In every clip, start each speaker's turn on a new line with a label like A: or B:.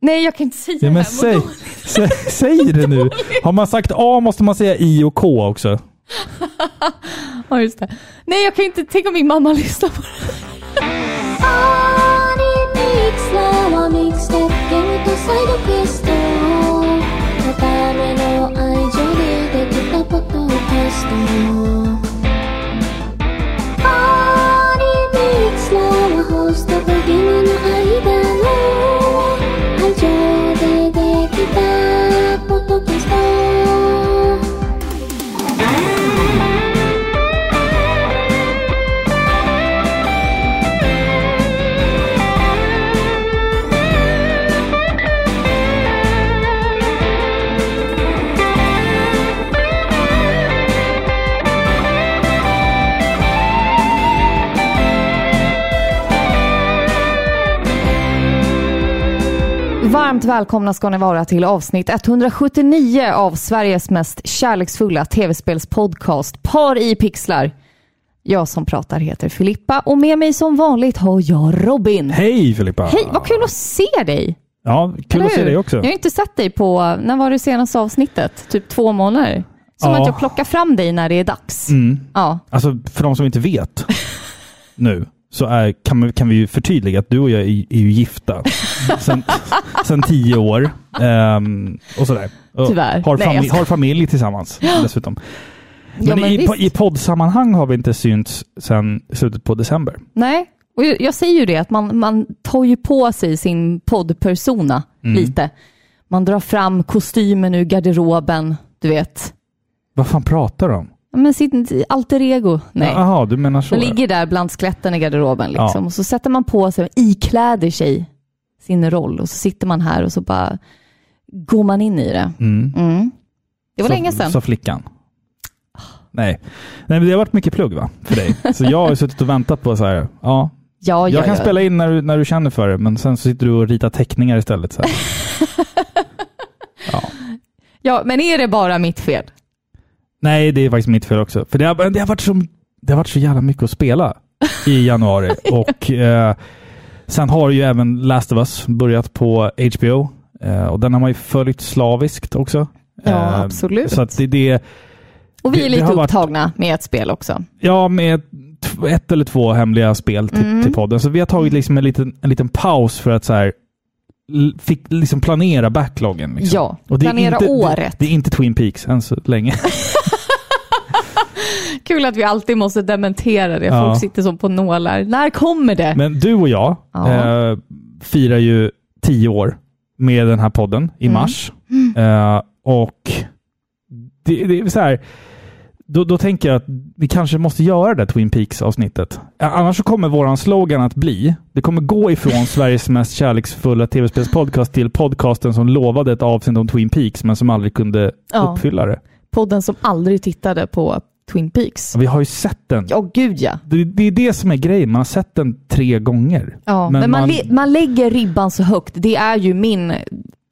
A: Nej, jag kan inte säga
B: Ja,
A: det
B: men
A: här. Vad
B: säg, sä, säg det nu. Har man sagt A måste man säga I och K också.
A: då- Ja, just det. Nej, jag kan inte. Tänk om min mamma lyssnar på det.
C: Podcast.
A: '" Varmt välkomna ska ni vara till avsnitt 179 av Sveriges mest kärleksfulla tv-spelspodcast Par i pixlar. Jag som pratar heter Filippa och med mig som vanligt har jag Robin.
B: Hej Filippa!
A: Hej, vad kul att se dig!
B: Ja, kul
A: Eller
B: att se
A: hur?
B: dig också.
A: Jag har inte sett dig på, när var det senaste avsnittet? Typ två månader. Som
B: Ja. Mm.
A: att jag plockar fram dig när det är dags. Ja.
B: Alltså för de som inte vet nu så är, kan, man, kan vi ju förtydliga att du och jag är, ju- är ju gifta sen, sen tio år. ehm, och sådär. Och
A: Tyvärr.
B: Har,
A: Nej, jag
B: familj-
A: ska-
B: har familj tillsammans dessutom. Men,
A: men
B: i,
A: visst.
B: po- i poddsammanhang har vi inte synts sedan slutet på december.
A: Nej, och jag, jag säger ju det att man, man tar ju på sig sin poddpersona
B: Mm.
A: lite. Man drar fram kostymen ur garderoben, du vet.
B: Vad fan pratar du om?
A: Ja, Men sitt alter ego. Nej.
B: Jaha, du menar så.
A: man
B: ja.
A: ligger där bland skeletten i garderoben liksom.
B: Ja.
A: Och så sätter man på sig, ikläder sig sin roll och så sitter man här och så bara går man in i det.
B: Mm.
A: Mm. Det var
B: Sa-
A: länge sedan.
B: Sa flickan. Nej. Nej, men det har varit mycket plugg va? För dig. Så jag har ju suttit och väntat på så här, ja,
A: ja,
B: Jag
A: ja,
B: kan
A: ja.
B: spela in när du, när du känner för det, men sen så sitter du och ritar teckningar istället. Så här. ja.
A: Ja, men är det bara mitt fel?
B: Nej, det är faktiskt mitt fel också. För det har, det, har varit så, det har varit så jävla mycket att spela i januari. Och eh, Sen har ju även Last of Us börjat på HBO. Eh, och den har man ju följt slaviskt också. Eh,
A: Ja, absolut.
B: Så att det, det,
A: Och vi är
B: Det- det
A: lite
B: har varit-
A: upptagna med ett spel också.
B: ja, med t- ett eller två hemliga spel till,
A: Mm.
B: till podden. Så vi har tagit liksom en, liten, en liten paus för att så här, l- fick liksom planera backloggen. Liksom.
A: Ja,
B: Och det är
A: planera
B: inte,
A: året.
B: Det, det är inte Twin Peaks än så länge.
A: Kul att vi alltid måste dementera det.
B: Ja.
A: Folk sitter som på nålar. När kommer det?
B: Men du och jag
A: Ja.
B: eh, firar ju tio år med den här podden i
A: Mm.
B: mars. Eh, och det, det är så här, då, då tänker jag att vi kanske måste göra det där Twin Peaks-avsnittet. Ja, Annars så kommer våran slogan att bli, det kommer gå ifrån Sveriges mest kärleksfulla tv-spelspodcast till podcasten som lovade ett avsnitt om Twin Peaks men som aldrig kunde
A: Ja.
B: uppfylla det.
A: Podden som aldrig tittade på Twin Peaks.
B: Vi har ju sett den.
A: Ja, gud ja.
B: Det, det är det som är grejen. Man har sett den tre gånger.
A: ja men
B: Men
A: man,
B: man-
A: le- man lägger ribban så högt. Det är ju min,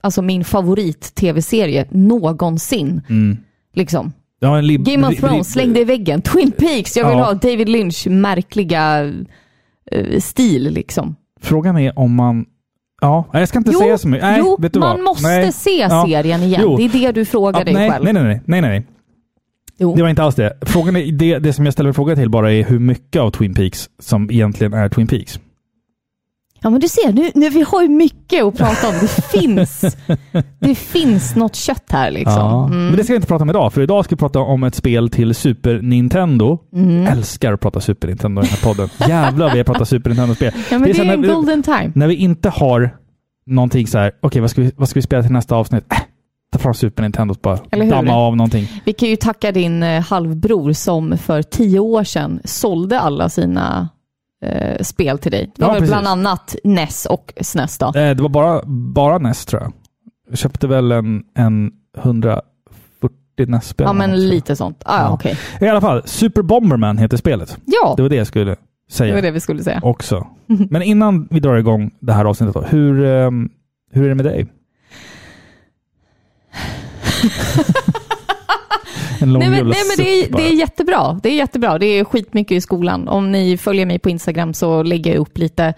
A: alltså min favorit-tv-serie någonsin. Liksom.
B: Ja, en lib-
A: Game of
B: ri- ri-
A: Thrones, släng det i väggen. Twin Peaks, jag vill
B: Ja.
A: ha David Lynch märkliga eh, stil liksom.
B: Frågan är om man... Ja, nej, jag ska inte säga så mycket. Nej,
A: jo
B: vet du
A: man
B: vad?
A: måste
B: nej.
A: se
B: Ja.
A: serien igen.
B: Jo.
A: Det är det du frågar
B: Ja,
A: dig
B: nej,
A: själv.
B: nej, nej, nej, nej, nej.
A: Jo.
B: Det var inte alls det. Frågan är, det, det som jag ställer en fråga till bara är hur mycket av Twin Peaks som egentligen är Twin Peaks.
A: Ja men du ser, nu, nu, vi har ju mycket att prata om. Det finns, det finns något kött här liksom. Mm.
B: Men det ska vi inte prata om idag, för idag ska vi prata om ett spel till Super Nintendo.
A: Mm.
B: Älskar att prata Super Nintendo i den här podden. Jävlar vi pratar Super Nintendo-spel.
A: Ja, men det,
B: så
A: är
B: här
A: en
B: när-
A: golden time.
B: när vi inte har någonting så här, okej vad, ska vi- vad ska vi spela till nästa avsnitt? Äh, ta fram Super Nintendo och bara
A: Eller hur?
B: damma av någonting.
A: Vi kan ju tacka din eh, halvbror som för tio år sedan sålde alla sina eh, spel till dig. Det
B: Ja,
A: var väl
B: precis.
A: bland annat NES och SNES då.
B: Eh, det var bara, bara NES tror jag. Jag köpte väl en, en 140 NES-spel.
A: Ja
B: E eller något,
A: men
B: tror jag.
A: lite sånt. Ah, ja.
B: Ja.
A: okej.
B: I alla fall, Super Bomberman heter spelet.
A: Ja,
B: Det var det jag skulle
A: det
B: säga
A: var det vi skulle säga.
B: också. Men innan vi drar igång det här avsnittet, då, hur, ehm, hur är det med dig? en lång
A: Nej men,
B: jävla
A: nej, men det,
B: suck
A: är,
B: bara.
A: det är jättebra. Det är jättebra. Det är skitmycket i skolan. Om ni följer mig på Instagram så lägger jag upp lite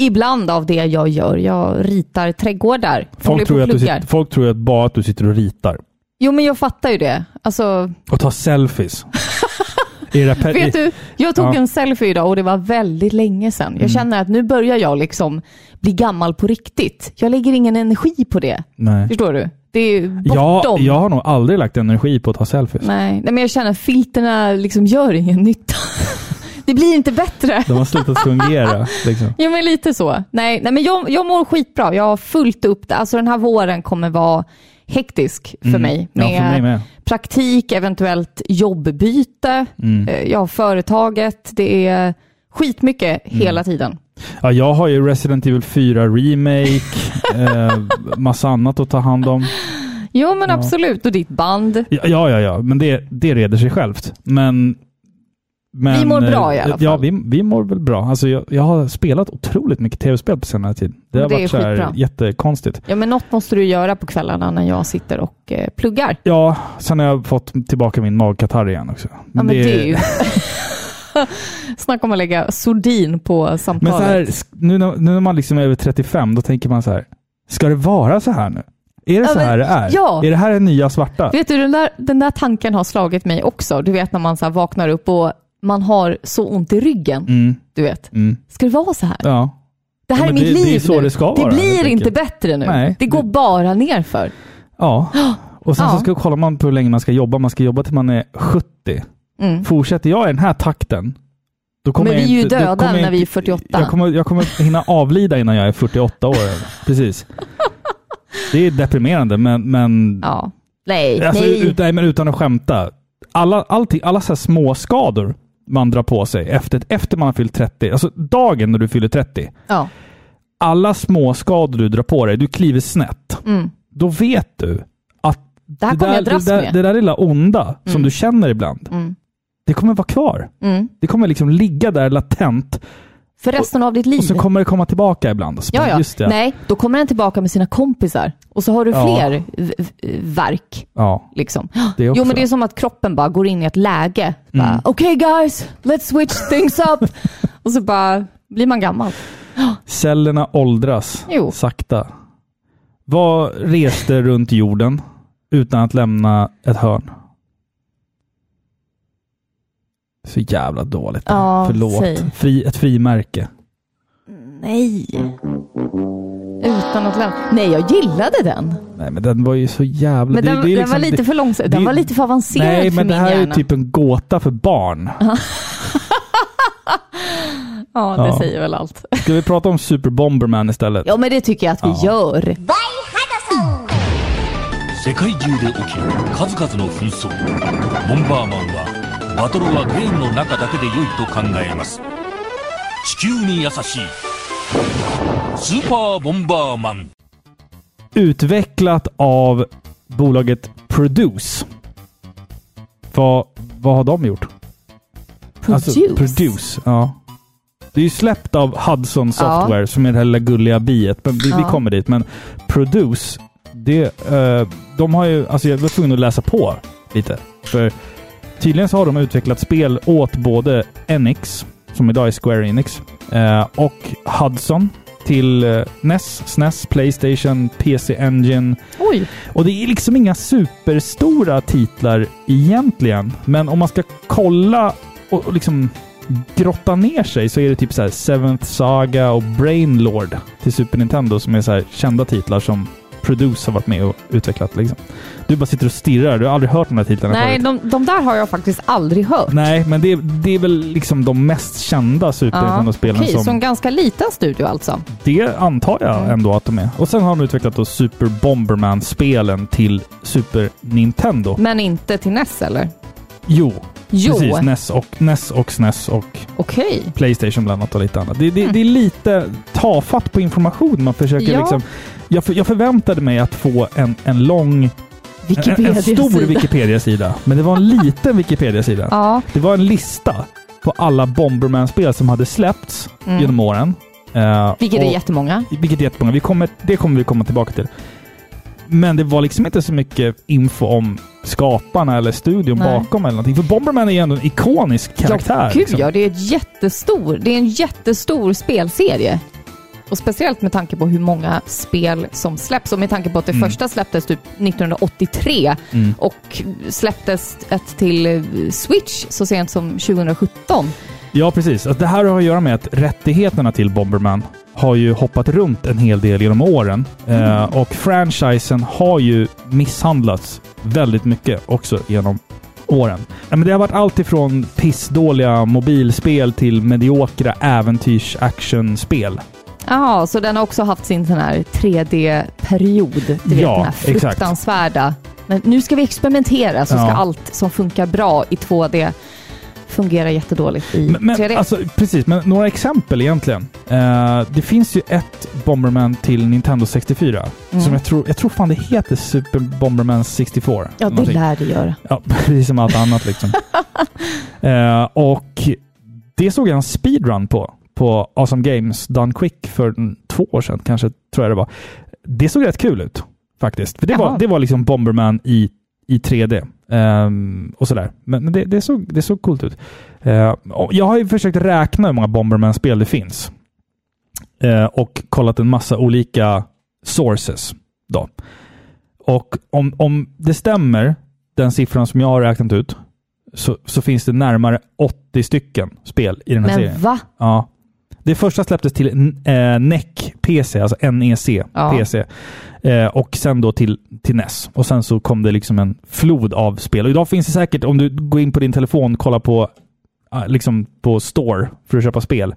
A: ibland av det jag gör. Jag ritar trädgårdar. Jag
B: Folk
A: håller
B: tror,
A: på och
B: ju att du
A: pluggar.
B: sitter, folk tror ju att bara att du sitter och ritar.
A: Jo, men jag fattar ju det. Alltså,
B: Och tar selfies. I det här
A: vet
B: pe- Äh, i-
A: du, jag tog
B: Ja. Mm.
A: en selfie idag och det var väldigt länge sedan. Jag känner att nu börjar jag liksom bli gammal på riktigt. Jag lägger ingen energi på det.
B: Nej.
A: Förstår du? Det är bortom.
B: Jag, jag har nog aldrig lagt energi på att ta selfies.
A: Nej. Nej, men jag känner att filterna liksom gör ingen nytta. det blir inte bättre.
B: De har slutat fungera. Liksom.
A: Jo, men lite så. Nej, nej men jag, jag mår skitbra. Jag har fullt upp det. Alltså den här våren kommer vara hektisk för
B: Mm.
A: mig.
B: Ja, för mig med.
A: praktik, eventuellt jobbbyte.
B: Mm.
A: Eh, Jag har företaget. Det är skitmycket
B: Mm.
A: hela tiden.
B: Ja, jag har ju Resident Evil 4 Remake, eh, massa annat att ta hand om.
A: Jo, men absolut. Och ditt band.
B: Ja, ja, ja, ja. men det, det reder sig självt. Men, men,
A: Vi mår
B: eh,
A: bra i alla fall.
B: Ja, vi, vi mår väl bra. Alltså, jag, jag har spelat otroligt mycket tv-spel på senare tid. Det har
A: Det är
B: varit så här
A: skitbra.
B: jättekonstigt.
A: Ja, men något måste du göra på kvällarna när jag sitter och eh, pluggar.
B: Ja, sen har jag fått tillbaka min magkatarr igen också.
A: Ja, men det...
B: det-
A: är ju... Snacka om att lägga sordin på
B: Men
A: samtalet.
B: så här, sk- nu, när, nu när man liksom är över 35, då tänker man så här, ska det vara så här nu? Är
A: Ja,
B: det så
A: men-
B: här det är?
A: ja.
B: Är det här det nya svarta?
A: Vet du, den där, den där tanken har slagit mig också. Du vet när man så här vaknar upp och man har så ont i ryggen.
B: Mm,
A: Du vet.
B: mm,
A: Ska det vara så här?
B: ja.
A: Det här
B: Ja,
A: är
B: men
A: mitt
B: det- det
A: liv
B: är så
A: nu.
B: det ska vara,
A: blir
B: helt
A: inte
B: enkelt.
A: bättre nu.
B: Nej.
A: det går bara nerför.
B: Ja. Och sen
A: Ja.
B: så ska, kollar man på hur länge man ska jobba. Man ska jobba till man är 70.
A: Mm.
B: Fortsätter jag i den här takten, då kommer
A: Men vi
B: jag
A: är ju
B: inte, då kommer
A: döda
B: jag
A: när
B: inte-
A: vi är 48.
B: Jag kommer, jag kommer hinna avlida innan jag är 48 år. Precis. Det är deprimerande, men, men,
A: Ja. Nej,
B: alltså,
A: nej.
B: ut, nej, men utan att skämta. Alla, allting, alla så här små skador man drar på sig efter, efter man har fyllt 30, alltså dagen när du fyller 30,
A: Ja.
B: alla små skador du drar på dig, du kliver snett,
A: Mm.
B: då vet du att
A: Det här kommer jag dras
B: det, där,
A: med.
B: det där lilla onda som
A: Mm.
B: du känner ibland,
A: Mm.
B: det kommer vara kvar.
A: Mm.
B: Det kommer liksom ligga där latent
A: För resten av ditt liv.
B: och så kommer det komma tillbaka ibland. Och så bara,
A: ja, ja.
B: Just det.
A: Nej, då kommer den tillbaka med sina kompisar. Och så har du
B: Ja.
A: fler v- v- verk.
B: Ja,
A: Liksom.
B: det är också. Mm.
A: Jo, men det är som att kroppen bara går in i ett läge. Bara, Okej guys, let's switch things up. och så bara blir man gammal.
B: Cellerna åldras
A: Jo.
B: sakta. Vad reste runt jorden utan att lämna ett hörn? Så jävla dåligt. det här.
A: Ja, säg.
B: Förlåt. Fri, ett frimärke.
A: Nej. Utan att lämna. Nej, jag gillade den.
B: Nej, men den var ju så jävla...
A: Men
B: det-
A: den,
B: det är
A: den var
B: liksom-
A: lite för långsam. Den
B: det-
A: var lite för avancerad
B: Nej,
A: för
B: men det
A: min
B: här
A: hjärna.
B: är typ en gåta för barn.
A: Ja, det
B: Ja.
A: säger väl allt.
B: Ska vi prata om Super Bomberman istället?
A: Ja, men det tycker jag att vi gör.
C: 世界中で起きる数々の紛争ボンバーマンはバトルはゲームの中だけで良いと考えます地球に優しいスーパーボンバーマン
B: Utvecklat av bolaget Produce. Vad, vad har de gjort?
A: Produce.
B: Alltså, produce, ja. Det är ju släppt av Hudson Software, som är det här lilla gulliga biet. Men vi, vi
A: Ja.
B: kommer dit. Men Produce, det, eh, de har ju... Alltså jag var tvungen att läsa på lite. För tydligen så har de utvecklat spel åt både Enix, som idag är Square Enix, eh, och Hudson till eh, NES, SNES, Playstation, PC Engine,
A: Oj.
B: och det är liksom inga superstora titlar egentligen, men om man ska kolla och och liksom grotta ner sig så är det typ så här Seventh Saga och Brainlord till Super Nintendo som är så här kända titlar som Produce har varit med och utvecklat. Liksom. Du bara sitter och stirrar, du har aldrig hört de här titlarna
A: Nej,
B: förut.
A: de, de där har jag faktiskt aldrig hört.
B: Nej, men det, det är väl liksom de mest kända Super
A: Ja. Okej,
B: Nintendo-spelen
A: så Mm. en ganska liten studio alltså.
B: det antar jag ändå att de är. Och sen har de utvecklat då Super Bomberman-spelen till Super Nintendo.
A: Men inte till NES eller?
B: Jo,
A: Jo,
B: precis. NES och, NES och SNES och
A: okej.
B: Playstation bland annat och lite annat. Det, det,
A: Mm.
B: det är lite tafatt på information. Man försöker
A: Ja.
B: liksom... Jag, för, jag förväntade mig att få en, en lång... En, en stor
A: Wikipedia-sida.
B: Wikipedia-sida. Men det var en liten Wikipedia-sida.
A: Ja,
B: Det var en lista på alla Bomberman-spel som hade släppts
A: Mm.
B: genom åren. Eh,
A: vilket är
B: och-
A: jättemånga.
B: vilket är jättemånga. Vi kommer, det kommer vi komma tillbaka till. Men det var liksom inte så mycket info om skaparna eller studion
A: Nej.
B: bakom eller någonting. För Bomberman är ju ändå en ikonisk karaktär.
A: ja, gud
B: liksom.
A: ja, det är, ett jättestor, det är en jättestor spelserie. Och speciellt med tanke på hur många spel som släpps och med tanke på att det
B: Mm.
A: första släpptes typ 1983
B: Mm.
A: och släpptes ett till eh, Switch så sent som 2017.
B: Ja, precis. Alltså, det här har att göra med att rättigheterna till Bomberman har ju hoppat runt en hel del genom åren.
A: Mm.
B: Eh, och franchisen har ju misshandlats väldigt mycket också genom åren. Ja, men det har varit allt ifrån pissdåliga mobilspel till mediokra äventyrs-actionspel.
A: Ja, så den har också haft sin sån här 3D-period. Du vet
B: Ja,
A: den här
B: exakt.
A: fruktansvärda. Men nu ska vi experimentera så ska
B: Ja.
A: allt som funkar bra i 2D fungera jättedåligt i
B: Men,
A: 3D.
B: men, alltså, precis, men några exempel egentligen. Eh, det finns ju ett Bomberman till Nintendo 64.
A: Mm.
B: Som jag tror, jag tror fan det heter Super Bomberman 64.
A: ja, det
B: någonting.
A: lär det göra.
B: Ja, precis som allt annat liksom. eh, och det såg jag en speedrun på, på Awesome Games Done Quick för mm, två år sedan kanske, tror jag det var. Det såg rätt kul ut faktiskt. För det,
A: Jaha.
B: var, det var liksom Bomberman i, i 3D. ehm, och sådär. Men men det, det, såg, det såg coolt ut. Eh, och jag har ju försökt räkna hur många Bomberman-spel det finns. Eh, och kollat en massa olika sources. Då. Och om, om det stämmer, den siffran som jag har räknat ut, så, så finns det närmare 80 stycken spel i den här serien.
A: Men va?
B: Ja. Det första släpptes till eh, NEC PC, alltså NEC
A: Ja.
B: PC. Eh, och sen då till, till NES. Och sen så kom det liksom en flod av spel. Och idag finns det säkert, om du går in på din telefon och kollar på, eh, liksom på Store för att köpa spel,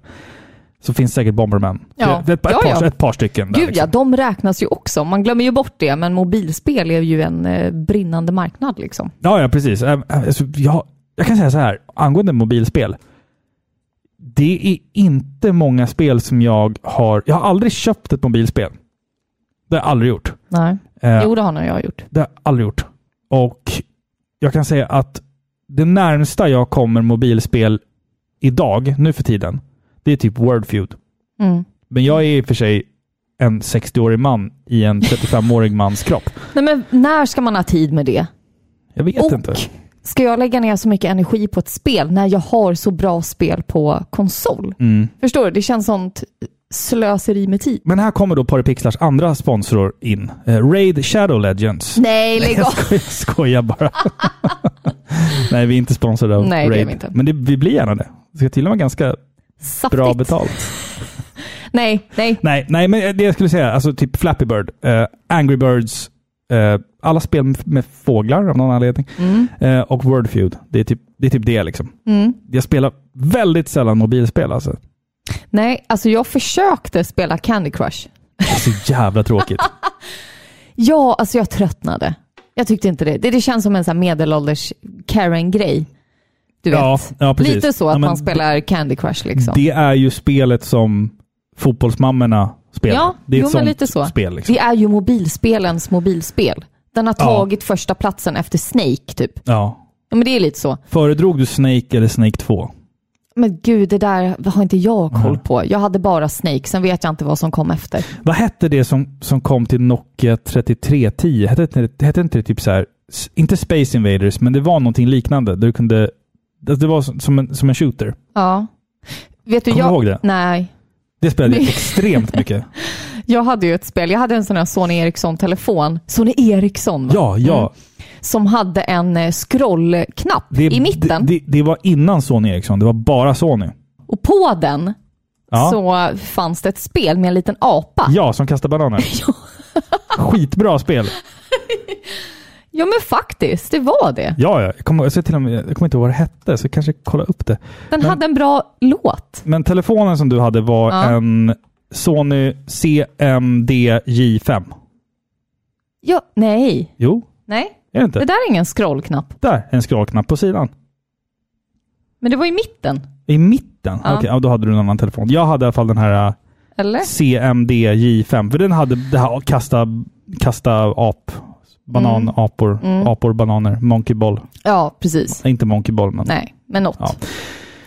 B: så finns det säkert Bomberman.
A: Ja.
B: Ett, ett,
A: Ja,
B: par,
A: ja.
B: ett par stycken. Där,
A: Gud ja,
B: liksom.
A: de räknas ju också. Man glömmer ju bort det, men mobilspel är ju en eh, brinnande marknad liksom.
B: ja, ja, precis. Eh, eh, Alltså, jag, jag kan säga så här, angående mobilspel. Det är inte många spel som jag har... Jag har aldrig köpt ett mobilspel. Det har jag aldrig gjort.
A: Nej.
B: Eh,
A: Jo, det har nog jag gjort.
B: Det har jag aldrig gjort. Och jag kan säga att det närmsta jag kommer mobilspel idag, nu för tiden, det är typ Wordfeud.
A: Mm.
B: Men jag är i och för sig en 60-årig man i en 35-årig mans kropp.
A: Nej, men när ska man ha tid med det?
B: Jag vet
A: Och
B: inte.
A: ska jag lägga ner så mycket energi på ett spel när jag har så bra spel på konsol?
B: Mm.
A: Förstår du? Det känns sånt slöseri med tid.
B: Men här kommer då Parapixlars andra sponsorer in. Eh, Raid Shadow Legends.
A: Nej, lägg
B: Jag
A: av!
B: skojar, jag skojar bara. Nej, vi är inte sponsrade av
A: Nej, det är
B: Raid.
A: vi inte.
B: Men det, vi blir gärna det. Det ska till och med ganska
A: Saftigt.
B: bra betalt.
A: Nej, nej.
B: Nej, nej, men det jag skulle säga, alltså typ Flappy Bird, eh, Angry Birds, eh, alla spel med, med fåglar av någon anledning,
A: Mm,
B: eh, och Wordfeud. Det är, typ, det är typ det liksom.
A: mm.
B: Jag spelar väldigt sällan mobilspel alltså.
A: Nej, alltså jag försökte spela Candy Crush.
B: Det är så jävla tråkigt.
A: Ja, alltså jag tröttnade. Jag tyckte inte det. Det, det känns som en sån här medelålders Karen-grej. Du vet.
B: ja, ja, precis.
A: Lite så att
B: Ja, men
A: man spelar Candy Crush liksom.
B: Det är ju spelet som fotbollsmammorna spelar.
A: Ja,
B: det är
A: jo,
B: ett
A: men
B: sånt
A: lite så.
B: spel. Liksom.
A: Det är ju mobilspelens mobilspel. Den har
B: Ja.
A: tagit första platsen efter Snake typ.
B: Ja.
A: Ja, men det är lite så.
B: Föredrog du Snake eller Snake 2?
A: Men gud, det där har inte jag koll
B: Nej.
A: på. Jag hade bara Snake, sen vet jag inte vad som kom efter.
B: Vad hette det som, som kom till Nokia 3310? Hette, inte det- hette inte det typ så här, s- inte Space Invaders, men det var någonting liknande. Där du kunde, alltså det var som- som en, som en shooter.
A: Ja. Vet du,
B: Kommer
A: jag...
B: du ihåg det?
A: Nej.
B: Det spelade jag
A: Nej.
B: extremt mycket.
A: Jag hade ju ett spel. Jag hade en sån här Sony Ericsson-telefon. Sony Ericsson, va?
B: Ja, ja.
A: Mm. Som hade en eh, scrollknapp
B: Det,
A: i mitten.
B: Det, det, det var innan Sony Ericsson. Det var bara Sony.
A: Och på den
B: Ja,
A: så fanns det ett spel med en liten apa.
B: ja som kastar bananer.
A: Ja.
B: Skitbra spel.
A: Ja, men faktiskt. Det var det.
B: Ja, ja. Jag kommer, jag, ser till och med, jag kommer inte ihåg vad det hette, så jag kanske kolla upp det.
A: Den
B: Men-
A: hade en bra låt.
B: Men telefonen som du hade var
A: Ja.
B: en Sony CMDJ5.
A: Ja, nej.
B: Jo,
A: Nej,
B: är det inte?
A: det där är ingen scrollknapp.
B: Där, en scrollknapp på sidan.
A: Men det var i mitten.
B: I mitten?
A: Ja.
B: Okej, ja, då hade du en annan telefon. Jag hade i alla fall den här eh,
A: Eller?
B: CMDJ5, för den hade det här kasta, kasta ap, banan,
A: Mm.
B: apor,
A: Mm.
B: apor, bananer, monkeyboll.
A: Ja, precis.
B: Nej, Inte monkeyboll, men...
A: Nej, men något.
B: Ja.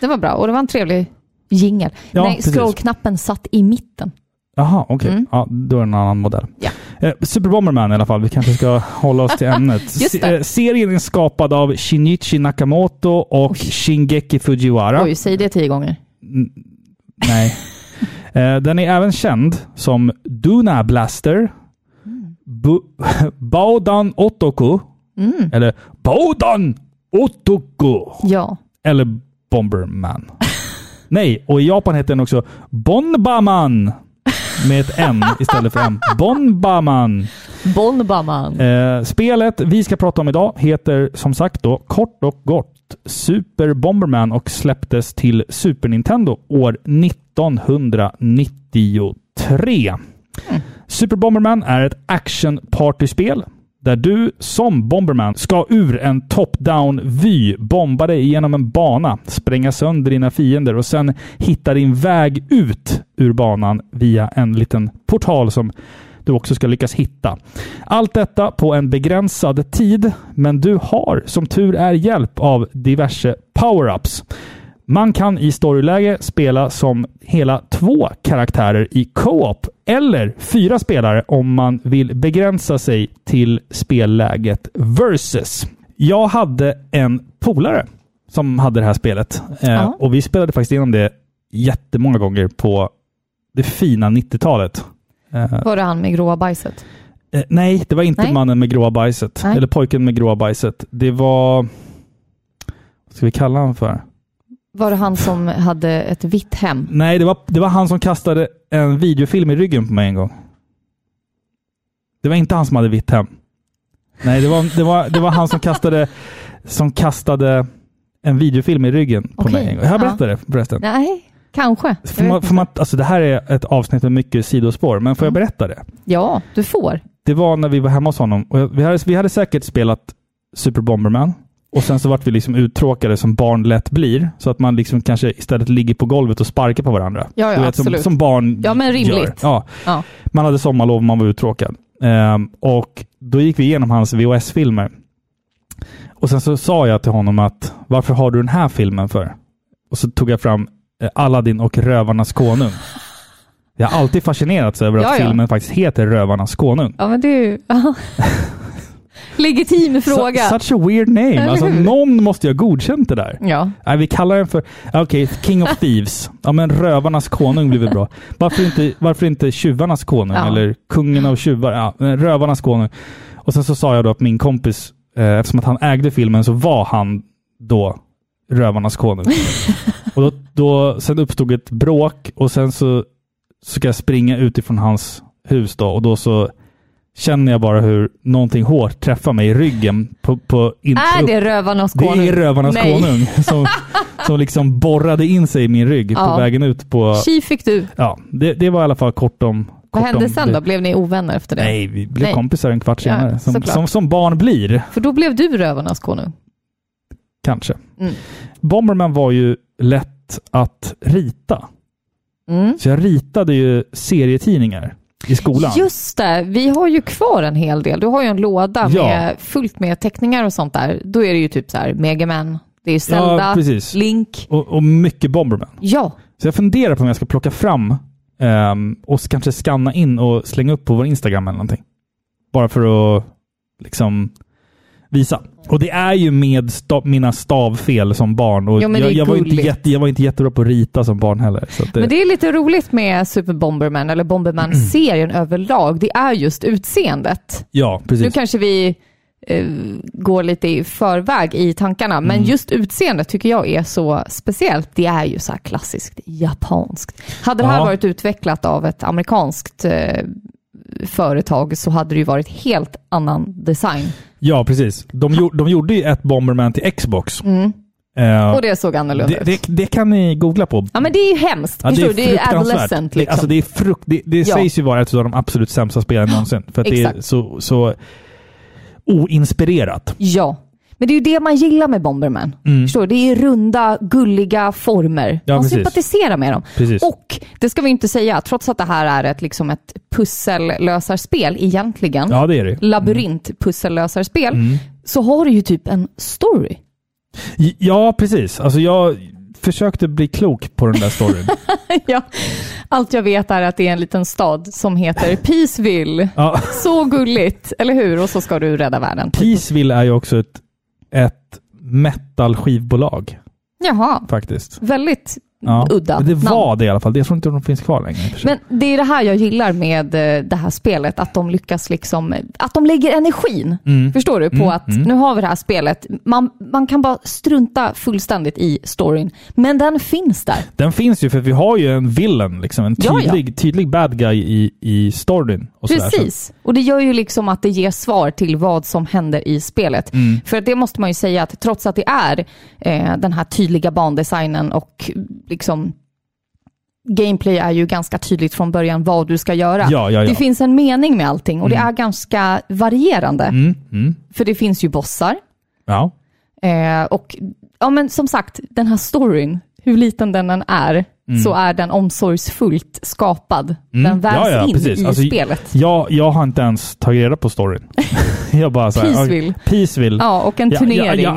A: Det var bra och det var en trevlig jingel.
B: Ja,
A: Nej,
B: precis.
A: scrollknappen satt i mitten.
B: Jaha, okej.
A: Mm.
B: Ja, då är det en annan modell.
A: Ja.
B: Eh, Super Bomberman i alla fall. Vi kanske ska hålla oss till ämnet.
A: Just det.
B: Se- eh, serien är skapad av Shinichi Nakamoto och Shingeki Fujiwara.
A: Oj, säg det tio gånger.
B: Nej. Eh, Den är även känd som Duna Blaster,
A: Mm.
B: Bu- Baudan Otoku,
A: Mm.
B: eller Baudan Otoku,
A: Ja.
B: eller Bomberman. Nej, och i Japan heter den också Bonbaman med ett N istället för M. Bonbaman.
A: Bonbaman.
B: Eh, spelet vi ska prata om idag heter som sagt då kort och gott Super Bomberman och släpptes till Super Nintendo år 1993. Super Bomberman är ett action-partyspel där du som Bomberman ska ur en top-down-vy bomba dig genom en bana, spränga sönder dina fiender och sen hitta din väg ut ur banan via en liten portal som du också ska lyckas hitta. Allt detta på en begränsad tid, men du har som tur är hjälp av diverse power-ups. Man kan i storyläge spela som hela två karaktärer i co-op eller fyra spelare om man vill begränsa sig till spelläget versus. Jag hade en polare som hade det här spelet eh,
A: Ja.
B: och vi spelade faktiskt igenom det jättemånga gånger på det fina 90-talet. Eh,
A: Var det han med gråa bajset?
B: Eh, nej, det var inte
A: Nej.
B: mannen med gråa bajset.
A: Nej.
B: Eller pojken med gråa bajset. Det var... Vad ska vi kalla honom för?
A: Var det han som hade ett vitt hem?
B: Nej, det var, det var han som kastade en videofilm i ryggen på mig en gång. Det var inte han som hade vitt hem. Nej, det var, det var, det var han som kastade, som kastade en videofilm i ryggen på
A: Okej.
B: mig en gång. Jag
A: Ja.
B: berättade det förresten.
A: Nej, kanske.
B: Får man, får man, alltså det här är ett avsnitt med mycket sidospår, men får jag
A: Mm.
B: berätta det?
A: Ja, du får.
B: Det var när vi var hemma hos honom. Och jag- vi, hade, vi hade säkert spelat Super Bomberman. Och sen så vart vi liksom uttråkade som barn lätt blir. Så att man liksom kanske istället ligger på golvet och sparkar på varandra.
A: Ja, ja,
B: du vet, som,
A: absolut.
B: som barn
A: Ja, men rimligt.
B: Gör. Ja.
A: Ja.
B: Man hade sommarlov och man var uttråkad. Ehm, och då gick vi igenom hans VHS-filmer. Och sen så sa jag till honom att varför har du den här filmen för? Och så tog jag fram eh, Aladdin och Rövarnas konung. Jag har alltid fascinerats över att
A: Ja, ja.
B: filmen faktiskt heter Rövarnas konung.
A: Ja, men det är ju... ja. Legitim fråga.
B: Su- Such a weird name.
A: Eller
B: Alltså,
A: hur?
B: någon måste ju ha godkänt det där.
A: Ja.
B: Nej, vi kallar den för... ja, Okej, King of Thieves. Ja, men rövarnas konung blir väl bra. Varför inte, varför inte tjuvarnas konung?
A: Ja.
B: Eller kungen av tjuvar? Ja, men rövarnas konung. Och sen så sa jag då att min kompis, eh, eftersom att han ägde filmen, så var han då rövarnas konung. och då, då, sen uppstod ett bråk och sen så så ska jag springa utifrån hans hus då och då så känner jag bara hur någonting hårt träffar mig i ryggen. På, på in,
A: Är
B: upp-
A: det rövarnas
B: det
A: konung?
B: är rövarnas
A: Nej.
B: konung som, som liksom borrade in sig i min rygg
A: Ja.
B: på vägen ut på...
A: Tji fick du.
B: Ja, det, det var i alla fall kort om... Kort
A: Vad hände
B: om
A: sen
B: det.
A: då? Blev ni ovänner efter det?
B: Nej, vi blev
A: Nej.
B: kompisar en kvart
A: Ja,
B: senare. som,
A: såklart.
B: som, som barn blir,
A: För då blev du rövarnas konung.
B: kanske.
A: Mm.
B: Bomberman var ju lätt att rita.
A: Mm.
B: Så jag ritade ju serietidningar i skolan.
A: Just det, vi har ju kvar en hel del. Du har ju en låda
B: Ja.
A: med, fullt med teckningar och sånt där. Då är det ju typ så här Mega Man, det är
B: ja,
A: Zelda, Mm.
B: precis.
A: Link.
B: Och, och mycket Bomberman.
A: Ja,
B: Så jag funderar på om jag ska plocka fram ehm, och kanske scanna in och slänga upp på vår Instagram eller någonting. Bara för att liksom visa. Och det är ju med sta- mina stavfel som barn. Och
A: Jo, men det
B: jag,
A: är
B: jag, var ju inte
A: gulligt.
B: jätte, jag var inte jättebra på att rita som barn heller. Så att det,
A: men det är lite roligt med Super Bomberman, eller Bomberman-serien
B: Mm.
A: överlag. Det är just utseendet.
B: ja,
A: Nu
B: precis.
A: kanske vi eh, går lite i förväg i tankarna, men
B: Mm.
A: just utseendet tycker jag är så speciellt. Det är ju så här klassiskt japanskt. Hade det här
B: Ja.
A: varit utvecklat av ett amerikanskt eh, företag så hade det ju varit helt annan design.
B: Ja, precis. De, gjorde- de gjorde ju ett Bomberman till Xbox. Eh,
A: Mm. Och det såg annorlunda
B: det,
A: ut.
B: det, det kan ni googla på.
A: Ja men det är ju hemskt,
B: Ja, det,
A: förstår
B: är
A: du? Det är ju
B: fruktansvärt.
A: adolescent
B: Det,
A: liksom.
B: alltså det är frukt, det, det
A: Ja.
B: sägs ju vara ett av de absolut sämsta spelen någonsin. För att det är
A: Exakt. Mm.
B: så, så oinspirerat.
A: Ja. Men det är ju det man gillar med Bomberman. Förstår du? Det är runda, gulliga former.
B: Mm. Ja,
A: man
B: precis.
A: sympatiserar med dem.
B: Precis.
A: Och, det ska vi inte säga, trots att det här är ett, liksom ett pussellösarspel egentligen,
B: Ja, Mm. det är det.
A: labyrint-pussellösarspel, så har det ju typ en story.
B: J- Ja, precis. Alltså jag försökte bli klok på den där storyn.
A: ja. Allt jag vet är att det är en liten stad som heter Peaceville.
B: ja.
A: Så gulligt, eller hur? Och så ska du rädda världen.
B: Peaceville är ju också ett, ett metal-skivbolag
A: Jaha,
B: faktiskt.
A: väldigt
B: Ja.
A: udda
B: Men Det
A: namn.
B: var det i alla fall. Jag tror inte de finns kvar längre. i och för sig.
A: Men det är det här jag gillar med eh, det här spelet, att de lyckas liksom, att de lägger energin,
B: Mm.
A: förstår du, på att nu har vi det här spelet. Man, man kan bara strunta fullständigt i storyn, men den finns där.
B: Den finns ju för vi har ju en villain, liksom, en
A: Ja, ja.
B: tydlig, tydlig bad guy i, i storyn. Och sådär. Så-
A: Precis, och det gör ju liksom att det ger svar till vad som händer i spelet.
B: Mm.
A: För att det måste man ju säga att trots att det är eh, den här tydliga bandesignen och liksom Gameplay är ju ganska tydligt från början vad du ska göra.
B: Ja, ja, Mm. ja.
A: Det finns en mening med allting och det är ganska varierande.
B: Mm.
A: För det finns ju bossar
B: Ja.
A: eh, och ja, men som sagt, den här storyn, hur liten den än är,
B: Mm.
A: så är den omsorgsfullt skapad. Den vävs
B: ja, ja,
A: in
B: precis.
A: i
B: Alltså,
A: spelet.
B: Jag, jag har inte ens tagit reda på storyn. jag bara såhär,
A: Peaceville.
B: Peaceville.
A: Ja, och en
B: Jag,
A: turnering.
B: jag, jag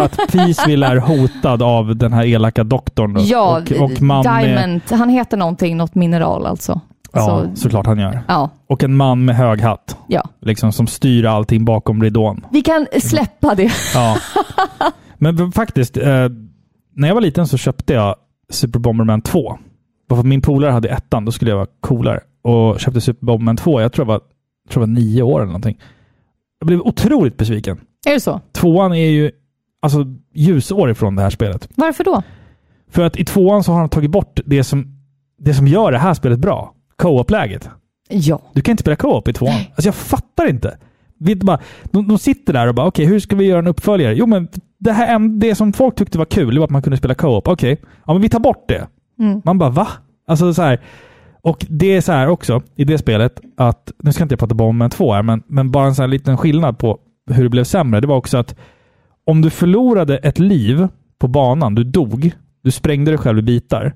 B: att Peaceville är hotad av den här elaka doktorn. då.
A: Ja,
B: och, och man Med,
A: Diamond. Han heter någonting, något mineral alltså.
B: ja,
A: Så,
B: såklart han gör.
A: ja,
B: Och en man med hög hatt.
A: ja.
B: Liksom, som styr allting bakom ridån.
A: Vi kan släppa det.
B: Ja. Men v- faktiskt, eh, när jag var liten så köpte jag Super Bomberman 2. Bara för att min polare hade ettan, då skulle jag vara coolare. Och köpte Super Bomberman 2, jag tror jag var, tror jag var nio år eller någonting. Jag blev otroligt besviken.
A: Är det så?
B: Tvåan är ju alltså, ljusår ifrån det här spelet.
A: Varför då?
B: För att i tvåan så har de tagit bort det som, det som gör det här spelet bra. Co-op-läget.
A: Ja.
B: Du kan inte spela co-op i tvåan. Alltså jag fattar inte. Vi inte bara, de, de sitter där och bara, okej, hur ska vi göra en uppföljare? Jo, men det, här, en- det som folk tyckte var kul det var att man kunde spela co-op. Okej, ja, men vi tar bort det. Man bara, va? Alltså så här. Och det är så här också i det spelet att, nu ska inte jag prata Bomberman 2 här, men, men bara en sån här liten skillnad på hur det blev sämre. Det var också att om du förlorade ett liv på banan, du dog, du sprängde dig själv i bitar,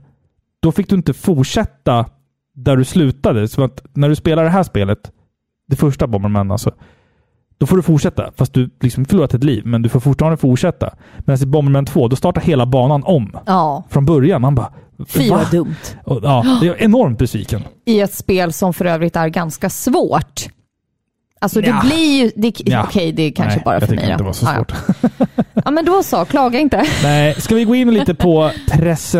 B: då fick du inte fortsätta där du slutade. Så att när du spelar det här spelet, det första Bomberman alltså, då får du fortsätta. Fast du liksom förlorat ett liv, men du får fortfarande fortsätta. Medan i Bomberman 2, då startar hela banan om.
A: Ja.
B: Från början. Man bara...
A: Fy
B: va?
A: vad dumt.
B: Och, ja, jag är enormt besviken.
A: I ett spel som för övrigt är ganska svårt. Alltså det
B: Nja.
A: blir ju... Det,
B: Nja.
A: Okej, det är kanske
B: Nej,
A: bara
B: jag
A: för
B: tycker
A: mig då.
B: inte det var så
A: Ja, ja.
B: svårt.
A: Ja, men då så. Klaga inte.
B: Nej, ska vi gå in lite på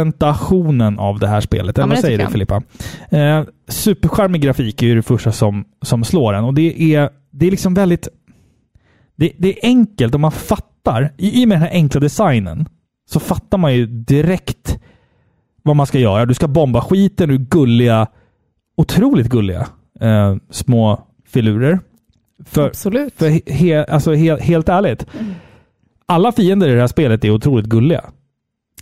B: presentationen av det här spelet?
A: Ja, men
B: Eller vad
A: det
B: säger du
A: tycker
B: Filippa? Eh, superskärmig grafik är ju det första som, som slår en och det är, det är liksom väldigt... Det, det är enkelt och man fattar. I, I och med den här enkla designen så fattar man ju direkt vad man ska göra. Du ska bomba skiten ur gulliga, otroligt gulliga eh, små filurer. För,
A: Absolut.
B: för he- he, alltså he, helt ärligt,
A: Mm.
B: alla fiender i det här spelet är otroligt gulliga.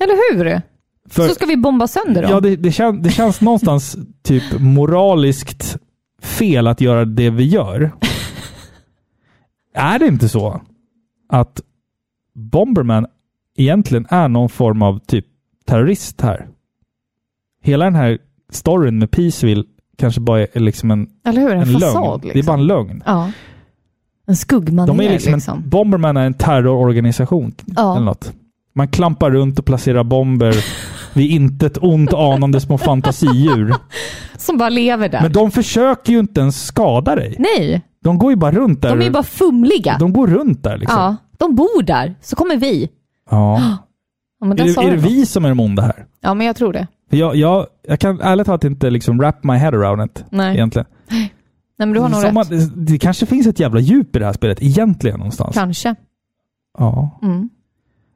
A: Eller hur?
B: För,
A: Så ska vi bomba sönder dem.
B: ja, det, det, kän, det känns någonstans typ moraliskt fel att göra det vi gör. är det inte så att Bomberman egentligen är någon form av typ terrorist här? Hela den här storyn med Peaceville kanske bara är liksom en,
A: Eller hur? En,
B: en lögn.
A: fasad
B: Det är
A: liksom.
B: bara en lögn.
A: Ja. En skuggmanér
B: De är liksom, En, Bomberman är en terrororganisation
A: Ja.
B: eller något. Man klampar runt och placerar bomber vid intet ont anande små fantasidjur.
A: Som bara lever där.
B: Men de försöker ju inte ens skada dig.
A: Nej,
B: De går ju bara runt där.
A: de är ju bara fumliga.
B: de går runt där liksom.
A: Ja, de bor där, så kommer vi.
B: Ja.
A: Ja, men där
B: Är,
A: sa
B: det, är det
A: du något.
B: vi som är de onda här?
A: Ja, men jag tror det.
B: För jag, jag, jag kan ärligt talat inte liksom wrap my head around it.
A: Nej,
B: Egentligen.
A: Nej men du har nog rätt.
B: Som att, det, det kanske finns ett jävla djup i det här spelet egentligen någonstans.
A: Kanske.
B: Ja.
A: Mm.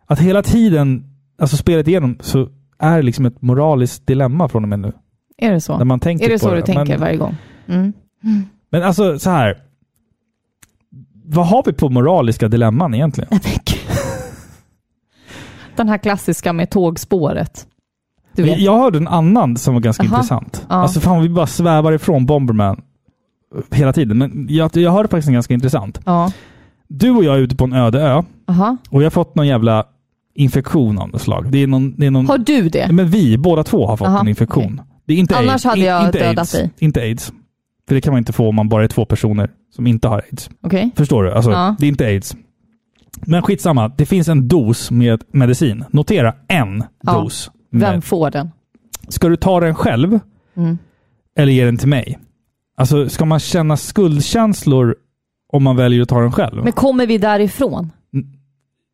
B: Att hela tiden, alltså spelet igenom, så är det liksom ett moraliskt dilemma från och med nu.
A: Är det så?
B: När man tänker
A: är det
B: på
A: så du tänker
B: Men,
A: varje gång? Mm.
B: men alltså så här. Vad har vi på moraliska dilemman egentligen?
A: Nej, men gud. Den här klassiska med tågspåret. Du vet.
B: Jag hörde en annan som var ganska
A: Aha.
B: intressant.
A: Ja.
B: Alltså fan, vi bara svävar ifrån Bomberman hela tiden. Men jag, jag hörde faktiskt en ganska intressant.
A: Ja.
B: Du och jag är ute på en öde ö
A: Aha.
B: och jag har fått någon jävla infektion av något slag. Det är någon... Det är någon
A: Har du det?
B: men vi båda två har fått
A: Aha,
B: en infektion. Det är inte
A: Annars
B: AIDS,
A: hade
B: in-
A: jag
B: inte
A: dödat
B: AIDS,
A: dig.
B: Inte aids. För det kan man inte få om man bara är två personer som inte har aids.
A: Okej.
B: Förstår du? Alltså,
A: Ja.
B: Det är inte aids. Men skitsamma, det finns en dos med medicin. Notera en
A: Ja.
B: dos.
A: Vem
B: Med.
A: får den?
B: Ska du ta den själv
A: Mm.
B: eller ge den till mig? Alltså, ska man känna skuldkänslor om man väljer att ta den själv?
A: Men kommer vi därifrån?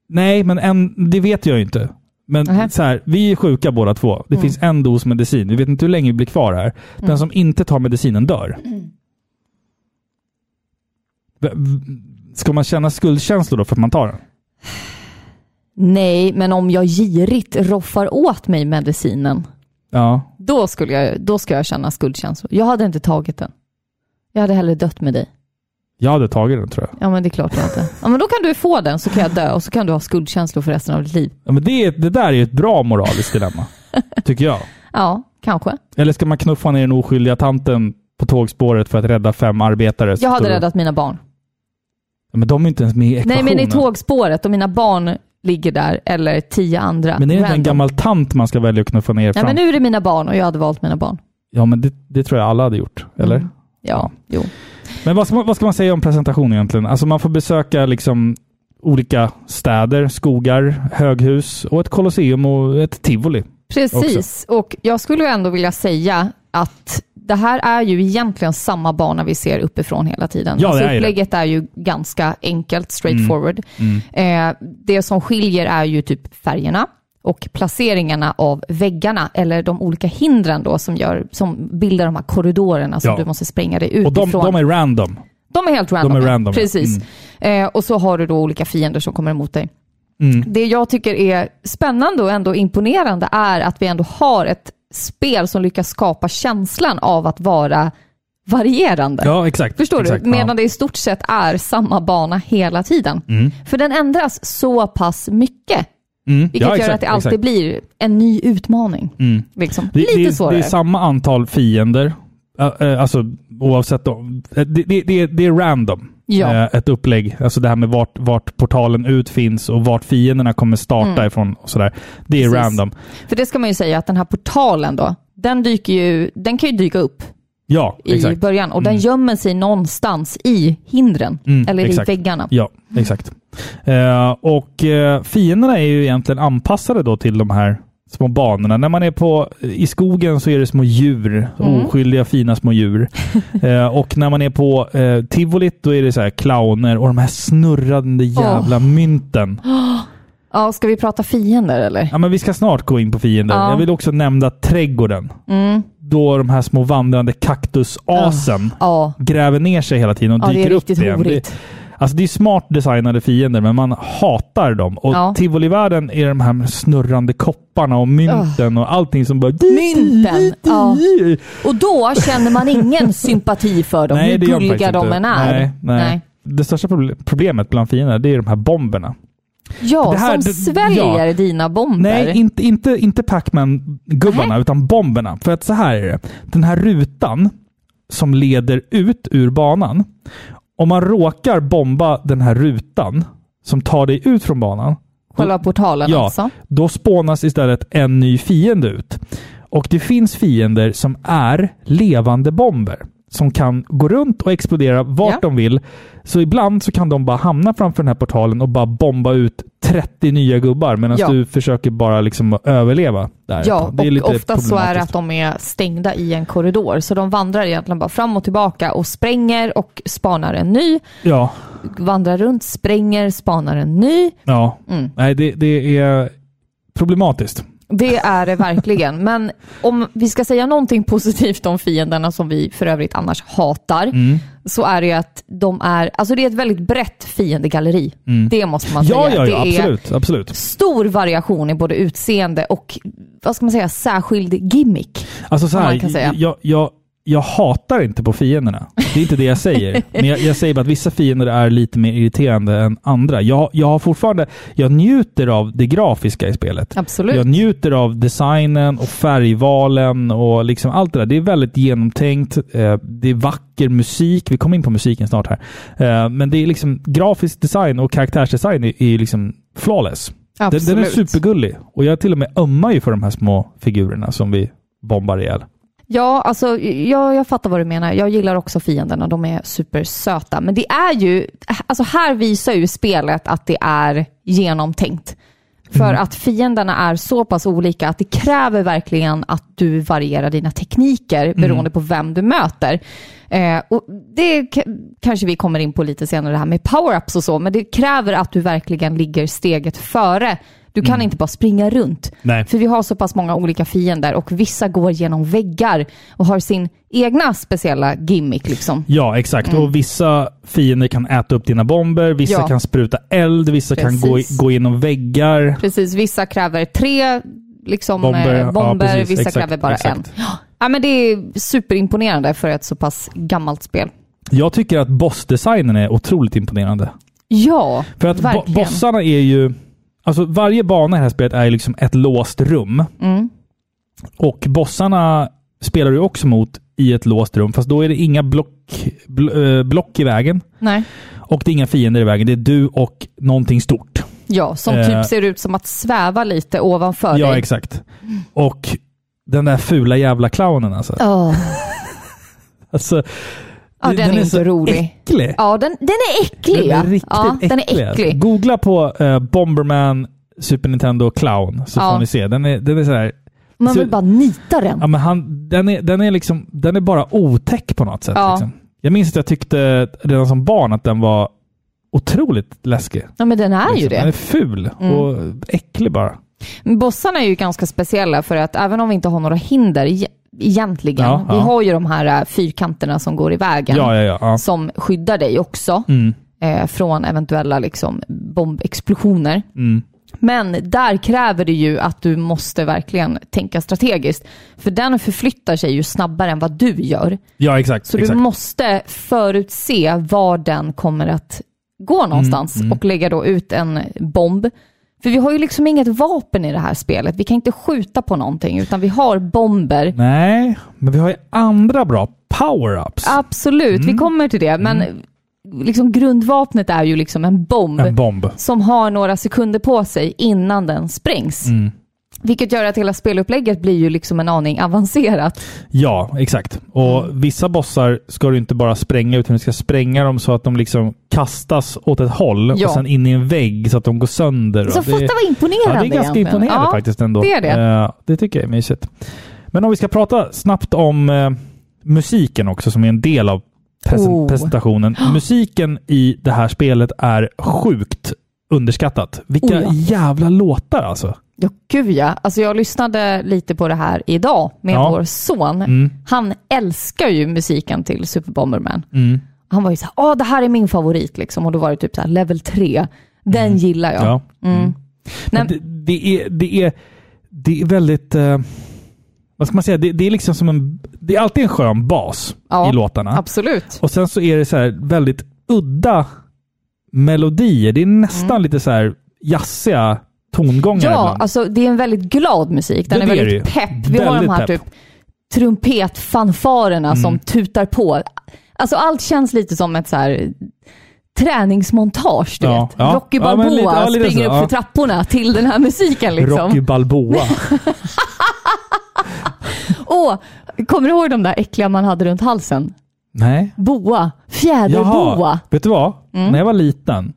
B: Nej, men en, det vet jag ju inte. Men
A: Nähä. Mm.
B: så här, vi är sjuka båda två. Det finns en dos medicin. Vi vet inte hur länge vi blir kvar här. Den som inte tar medicinen dör.
A: Mm.
B: V- v- Ska man känna skuldkänslor då för att man tar den?
A: Nej, men om jag girigt roffar åt mig medicinen,
B: Ja.
A: då, skulle jag, då ska jag känna skuldkänslor. Jag hade inte tagit den. Jag hade hellre dött med dig.
B: Jag hade tagit den tror jag.
A: Ja, men det är klart jag inte. Ja, men då kan du få den så kan jag dö och så kan du ha skuldkänslor för resten av ditt liv.
B: Ja, men det, är- det där är ju ett bra moraliskt dilemma. tycker jag.
A: Ja, kanske.
B: Eller ska man knuffa ner den oskyldiga tanten på tågspåret för att rädda fem arbetare? som
A: Jag hade
B: står och-
A: räddat mina barn.
B: Ja, Men de är inte ens med i
A: Nej,
B: ekvationen.
A: men i tågspåret och mina barn ligger där eller tio andra.
B: Men är det inte en
A: random.
B: gammal tant man ska välja att knuffa ner
A: Nej,
B: fram?
A: men nu är det mina barn och jag hade valt mina barn.
B: Ja, men det, det tror jag alla hade gjort. Eller?
A: Mm. Ja, jo.
B: Men vad ska, man, vad ska man säga om presentation egentligen? Alltså man får besöka liksom olika städer, skogar, höghus och ett kolosseum och ett tivoli.
A: Precis, och jag skulle ju ändå vilja säga att det här är ju egentligen samma bana vi ser uppifrån hela tiden. Alltså,
B: Ja, det är ju det.
A: upplägget är ju ganska enkelt, straightforward.
B: Mm.
A: Eh, det som skiljer är ju typ färgerna och placeringarna av väggarna, eller de olika hindren då som, gör, som bildar de här korridorerna som
B: Ja.
A: du måste spränga dig ut
B: Och de, de är random.
A: de är helt random.
B: De är
A: ja.
B: random, ja.
A: Precis. Eh, och så har du då olika fiender som kommer emot dig.
B: Mm.
A: Det jag tycker är spännande och ändå imponerande är att vi ändå har ett spel som lyckas skapa känslan av att vara varierande.
B: Ja, exakt.
A: Förstår
B: exakt,
A: du? Medan
B: ja.
A: det i stort sett är samma bana hela tiden. För den ändras så pass mycket,
B: Mm.
A: vilket
B: Ja,
A: gör
B: exakt,
A: att det alltid
B: exakt. Mm.
A: blir en ny utmaning. Liksom.
B: Det,
A: Lite
B: det,
A: svårare.
B: Det är samma antal fiender. Ä- ä, Alltså oavsett om. Ä, Det, det, det, det är random.
A: Ja.
B: Ä, Ett upplägg. Alltså det här med vart, vart portalen ut finns och vart fienderna kommer starta ifrån. Och sådär. Det är
A: Mm. Precis.
B: random.
A: För det ska man ju säga att den här portalen då, den, dyker ju, den kan ju dyka upp
B: Ja,
A: i
B: exakt.
A: början och den gömmer sig någonstans i hindren
B: Mm,
A: eller
B: exakt.
A: i väggarna.
B: Ja, exakt. Eh, och eh, fienderna är ju egentligen anpassade då till de här små banorna. När man är på, i skogen så är det små djur.
A: Mm.
B: Oskyldiga fina små djur. Eh, och när man är på eh, tivolit då är det så här clowner och de här snurrande jävla mynten.
A: Ja, ska vi prata fiender eller?
B: Ja, men vi ska snart gå in på fienden.
A: Ja. Mm.
B: Jag vill också nämna trädgården. Då de här små vandrande kaktusasen
A: Ja,
B: gräver ner sig hela tiden och
A: Ah. ja det
B: dyker
A: är
B: upp
A: riktigt
B: igen. Det-
A: horigt.
B: Alltså det är smart designade fiender, men man hatar dem. Och
A: Ja.
B: tivolivärlden är de här snurrande kopparna och mynten och allting som bara...
A: Mynten, ja. Och då känner man ingen sympati för dem,
B: Nej,
A: hur
B: det gör man
A: gulliga
B: faktiskt
A: de
B: inte.
A: än är.
B: Nej, nej. Det största proble- problemet bland fienderna, det är de här bomberna.
A: Ja,
B: Det här-
A: som
B: det-
A: sväljer dina bomber.
B: Nej, inte, inte, inte Pac-Man-gubbarna, utan bomberna. För att så här är det. Den här rutan som leder ut ur banan. Om man råkar bomba den här rutan som tar dig ut från banan,
A: Själva portalen
B: Ja.
A: alltså.
B: Då spånas istället en ny fiende ut. Och det finns fiender som är levande bomber. Som kan gå runt och explodera vart
A: Ja.
B: de vill. Så ibland så kan de bara hamna framför den här portalen och bara bomba ut 30 nya gubbar medan
A: Ja.
B: du försöker bara liksom överleva. Där.
A: Ja,
B: det är lite
A: och ofta så är det
B: problematiskt.
A: att de är stängda i en korridor, så de vandrar egentligen bara fram och tillbaka och spränger och spanar en ny,
B: Ja,
A: vandrar runt, spränger, spanar en ny. Mm.
B: ja. Nej, det, det är problematiskt.
A: Det är det verkligen. Men om vi ska säga någonting positivt om fienderna som vi för övrigt annars hatar,
B: Mm.
A: så är det ju att de är, alltså det är ett väldigt brett fiendegalleri. Det måste man
B: Mm. Ja,
A: säga.
B: ja, ja
A: det är
B: absolut. absolut.
A: stor variation i både utseende och, vad ska man säga, särskild gimmick.
B: Alltså så
A: Om man
B: här,
A: kan säga.
B: Jag, jag, jag hatar inte på fienderna. Det är inte det jag säger. Men jag, jag säger bara att vissa fiender är lite mer irriterande än andra. Jag, jag har fortfarande... Jag njuter av det grafiska i spelet.
A: Absolut.
B: Jag njuter av designen och färgvalen och liksom allt det där. Det är väldigt genomtänkt. Eh, Det är vacker musik. Vi kommer in på musiken snart här. Eh, Men det är liksom grafisk design och karaktärsdesign är, är liksom flawless. Den, den är
A: Absolut.
B: supergullig. Och jag till och med ömmar ju för de här små figurerna som vi bombar ihjäl.
A: Ja, alltså, jag, jag fattar vad du menar. Jag gillar också fienderna. De är supersöta. Men det är ju, alltså här visar ju spelet att det är genomtänkt. För att fienderna är så pass olika att det kräver verkligen att du varierar dina tekniker beroende på vem du möter. Eh, och det k- kanske vi kommer in på lite senare, det här med power-ups och så, men det kräver att du verkligen ligger steget före Du kan inte bara springa runt.
B: Nej.
A: För vi har så pass många olika fiender och vissa går genom väggar och har sin egna speciella gimmick. Liksom.
B: Ja, exakt. Och vissa fiender kan äta upp dina bomber, vissa
A: Ja.
B: kan spruta eld, vissa kan gå, i-
A: Precis.
B: gå genom väggar.
A: Precis, vissa kräver tre liksom,
B: Bomber,
A: bomber,
B: ja,
A: bomber
B: precis.
A: vissa
B: Exakt,
A: kräver bara
B: exakt.
A: en. Ja. Ja, men det är superimponerande för ett så pass gammalt spel.
B: Jag tycker att bossdesignen är otroligt imponerande.
A: Ja,
B: För att bo-
A: verkligen.
B: bossarna är ju... Alltså varje bana i det här spelet är ju liksom ett låst rum.
A: Mm.
B: Och bossarna spelar du också mot i ett låst rum, fast då är det inga block, bl- eh, block i vägen.
A: Nej.
B: Och det är inga fiender i vägen. Det är du och någonting stort.
A: Ja, som
B: Eh.
A: typ ser ut som att sväva lite ovanför
B: Ja,
A: dig.
B: exakt. Och den där fula jävla clownen alltså.
A: Åh.
B: alltså
A: Ja, den, är,
B: så
A: inte rolig.
B: äcklig.
A: Ja, den, den är äcklig.
B: Den är
A: ja.
B: riktigt
A: ja,
B: äcklig.
A: Den är
B: alltså.
A: äcklig.
B: Googla på eh, Bomberman Super Nintendo Clown så
A: Ja.
B: får ni se. Den är, den är så här,
A: Man vill
B: Så-
A: bara nita den.
B: ja, men han, den, är, den, är liksom, den är bara otäck på något sätt.
A: Ja.
B: Liksom. Jag minns att jag tyckte redan som barn att den var otroligt läskig.
A: Ja, men den är ju
B: liksom. Den är
A: det. Mm.
B: ful och äcklig bara.
A: Bossarna är ju ganska speciella för att även om vi inte har några hinder e- egentligen,
B: Ja,
A: vi
B: ja.
A: har ju de här äh, fyrkanterna som går i vägen
B: Ja, ja, ja. ja. Mm.
A: som skyddar dig också eh, från eventuella liksom, bombexplosioner.
B: Mm.
A: Men där kräver det ju att du måste verkligen tänka strategiskt. För den förflyttar sig ju snabbare än vad du gör.
B: ja exakt.
A: Så
B: exakt.
A: du måste förutse var den kommer att
B: Mm,
A: gå någonstans och lägga då ut en bomb. För vi har ju liksom inget vapen i det här spelet. Vi kan inte skjuta på någonting utan vi har bomber.
B: Nej, men vi har ju andra bra power-ups.
A: Absolut,
B: Mm.
A: vi kommer till det. Men liksom grundvapnet är ju liksom en bomb
B: En bomb.
A: som har några sekunder på sig innan den sprängs.
B: Mm.
A: Vilket gör att hela spelupplägget blir ju liksom en aning avancerat.
B: Ja, exakt.
A: Mm.
B: Och vissa bossar ska du inte bara spränga, utan du ska spränga dem så att de liksom kastas åt ett håll
A: Ja.
B: och sen in i en vägg så att de går sönder.
A: Så
B: Och det-
A: fatta vad imponerande
B: Ja, det är ganska
A: egentligen.
B: imponerande
A: Ja,
B: faktiskt ändå.
A: det är det.
B: Eh, det tycker jag är mysigt. Men om vi ska prata snabbt om eh, musiken också, som är en del av presen-
A: Oh.
B: presentationen. Musiken i det här spelet är sjukt underskattat. Vilka
A: Oh, ja.
B: jävla låtar alltså.
A: Ja, gud ja. Alltså jag lyssnade lite på det här idag med
B: Ja. Mm.
A: vår son. Han älskar ju musiken till Super Bomberman.
B: mm,
A: Han var ju såhär, åh det här är min favorit liksom. Och då var det typ såhär, level 3. Den gillar jag.
B: Mm.
A: Mm.
B: Ja. Mm. Men
A: Nej.
B: det, det, är, det, är, det är väldigt... Eh, vad ska man säga? Det, det är liksom som en... Det är alltid en skön bas
A: Ja,
B: i låtarna.
A: Absolut.
B: Och sen så är det så här väldigt udda melodier. Det är nästan lite så här jazziga tongångar
A: Mm. Ja,
B: ibland.
A: alltså det är en väldigt glad musik. Den
B: Ja,
A: är
B: det är
A: väldigt
B: det ju.
A: pepp. Vi har de
B: Väldigt
A: här
B: pepp. Mm.
A: typ trumpetfanfarerna som tutar på. Alltså allt känns lite som ett så här träningsmontage, du
B: Ja,
A: vet.
B: ja.
A: Rocky
B: Ja, men
A: Balboa
B: lite- ja, lite
A: springer upp
B: så, ja.
A: för trapporna till den här musiken liksom.
B: Rocky Balboa.
A: Åh, kommer du ihåg de där äckliga man hade runt halsen?
B: Nej.
A: Boa, fjäderboa.
B: Jaha. Vet du vad?
A: Mm.
B: När jag var liten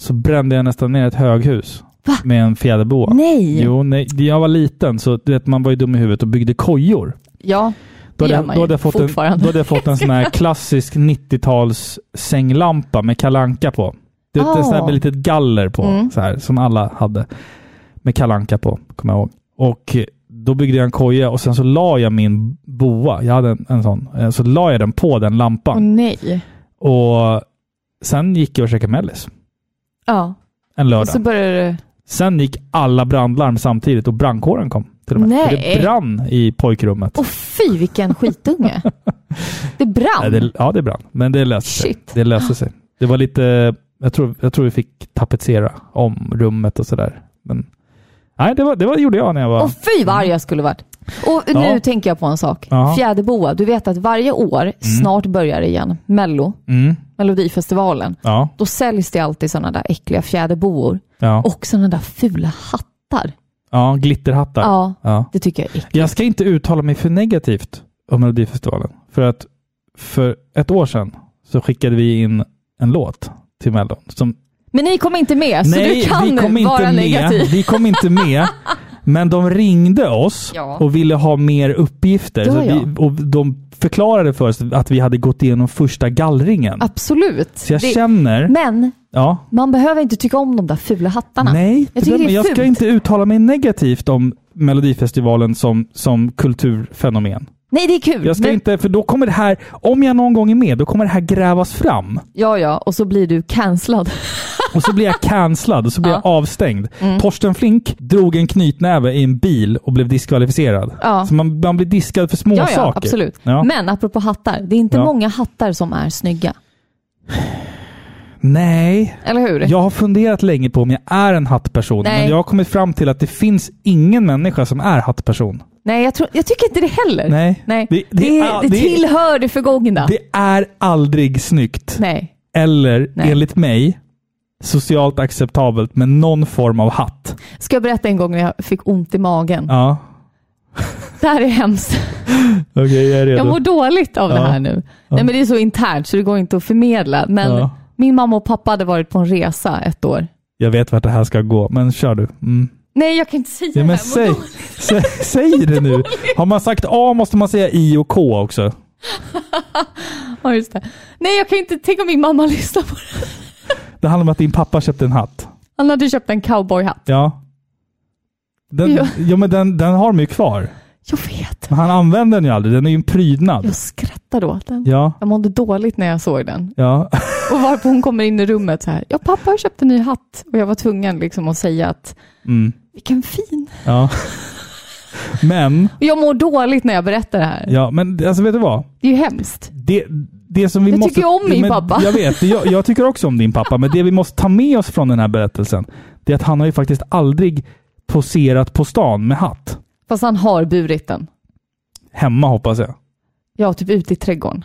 B: så brände jag nästan ner ett höghus med en fjäderboa.
A: Nej.
B: Jo, nej. När jag var liten så du vet, man var ju dum i huvudet och byggde kojor.
A: Ja,
B: Då
A: det
B: hade,
A: gör
B: jag,
A: man
B: då,
A: ju
B: hade jag fått en,
A: fortfarande.
B: då hade jag fått en sån här klassisk 90-tals sänglampa med kalanka på. Det är en sån här
A: Ah. Mm.
B: med litet galler på, så här, som alla hade. Med kalanka på, kommer jag ihåg. Och eh, då byggde jag en koja och sen så la jag min boa, jag hade en, en sån, eh, så la jag den på den
A: Åh
B: lampan.
A: nej.
B: Och sen gick jag och käkade mellis
A: Ja,
B: en
A: och
B: lördag.
A: så börjar det...
B: Sen gick alla brandlarm samtidigt och brandkåren kom. Till och med. För
A: Nej.
B: det brann i pojkrummet.
A: Åh fy vilken skitunge. Det
B: Ja,
A: brann.
B: det, ja, det brann. Men det löste sig.
A: Shit.
B: Det löste sig. Det var lite... Jag tror, jag tror vi fick tapetsera om rummet och sådär. Men, nej, det, var, det var, gjorde jag när jag var...
A: Åh fy vad arg jag skulle varit. Och nu
B: Ja.
A: tänker jag på en sak.
B: Ja.
A: Fjäderboa, du vet att varje år, snart börjar det igen, Mello,
B: Mm,
A: Melodifestivalen,
B: ja,
A: då säljs det alltid sådana där äckliga fjäderboor
B: ja,
A: och sådana där fula hattar.
B: ja, glitterhattar.
A: Ja,
B: Ja.
A: det tycker jag är äckligt.
B: Jag ska inte uttala mig för negativt om Melodifestivalen. För att för ett år sedan så skickade vi in en låt till Mellon. Som,
A: Men ni kom inte med, så
B: nej,
A: du kan
B: vi kom inte
A: vara
B: med.
A: negativ.
B: Vi kom inte med. Men de ringde oss
A: Ja.
B: och ville ha mer uppgifter.
A: Ja,
B: så
A: ja.
B: Vi, och de förklarade för oss att vi hade gått igenom första gallringen.
A: Absolut.
B: så jag
A: Det-
B: känner...
A: Men
B: ja,
A: man behöver inte tycka om de där fula hattarna.
B: nej,
A: Jag tycker
B: men
A: det är
B: jag ska
A: fult.
B: inte uttala mig negativt om Melodifestivalen som, som kulturfenomen.
A: Nej, det är kul.
B: Jag ska
A: men...
B: inte, för då kommer det här, om jag någon gång är med, då kommer det här grävas fram.
A: Ja, ja, och så blir du cancellad.
B: Och så blir jag cancellad och så blir
A: Ja. Mm.
B: jag avstängd. Torsten Flink drog en knytnäve i en bil och blev diskvalificerad.
A: Ja.
B: Så man, man blir diskad för små
A: ja, ja,
B: saker.
A: absolut.
B: Ja.
A: Men apropå hattar, det är inte
B: Ja.
A: många hattar som är snygga.
B: Nej,
A: Eller hur?
B: jag har funderat länge på om jag är en hattperson.
A: Nej.
B: Men jag har kommit fram till att det finns ingen människa som är hattperson.
A: Nej, jag, tror, jag tycker inte det heller.
B: Nej.
A: Nej. Det,
B: Det-
A: det,
B: det-
A: det,
B: ah, det-
A: tillhör det förgångna.
B: Det är aldrig snyggt.
A: Nej.
B: Eller,
A: Nej.
B: enligt mig, socialt acceptabelt med någon form av hatt.
A: Ska jag berätta en gång när jag fick ont i magen?
B: Ja,
A: Det här är hemskt.
B: okej, jag är redo.
A: Jag mår dåligt av det
B: Ja.
A: här nu. Nej, men det är så internt så det går inte att förmedla. Men
B: Ja.
A: min mamma och pappa hade varit på en resa ett år.
B: Jag vet vart det här ska gå, men kör du. Mm.
A: Nej, jag kan inte säga
B: Ja,
A: det här.
B: men
A: Jag mår
B: säg,
A: dåligt.
B: sä, säg det nu. Har man sagt A måste man säga I och K också.
A: Ja, just det. Nej, jag kan inte. Tänk om min mamma lyssnar på det.
B: Det handlar om att din pappa köpte en hatt.
A: Han hade köpt en cowboyhatt.
B: Ja. Den,
A: Ja.
B: ja. men den, den har de ju kvar.
A: Jag vet.
B: Men han använder den ju aldrig. Den är ju en prydnad.
A: Jag skrattade åt den.
B: Ja,
A: Jag mådde dåligt när jag såg den.
B: ja.
A: Och varpå hon kommer in i rummet så här. Ja, pappa har köpt en ny hatt. Och jag var tvungen liksom att säga att
B: Mm,
A: vilken fin.
B: ja. Men,
A: Och jag mår dåligt när jag berättar det här.
B: ja, men alltså vet du vad?
A: Det är ju hemskt.
B: Det, det som vi
A: Jag
B: måste,
A: tycker om min
B: men,
A: pappa.
B: Jag vet, jag, jag tycker också om din pappa. Men det vi måste ta med oss från den här berättelsen, det är att han har ju faktiskt aldrig poserat på stan med hatt.
A: Fast han har burit den.
B: Hemma hoppas jag.
A: Ja, typ ute i trädgården.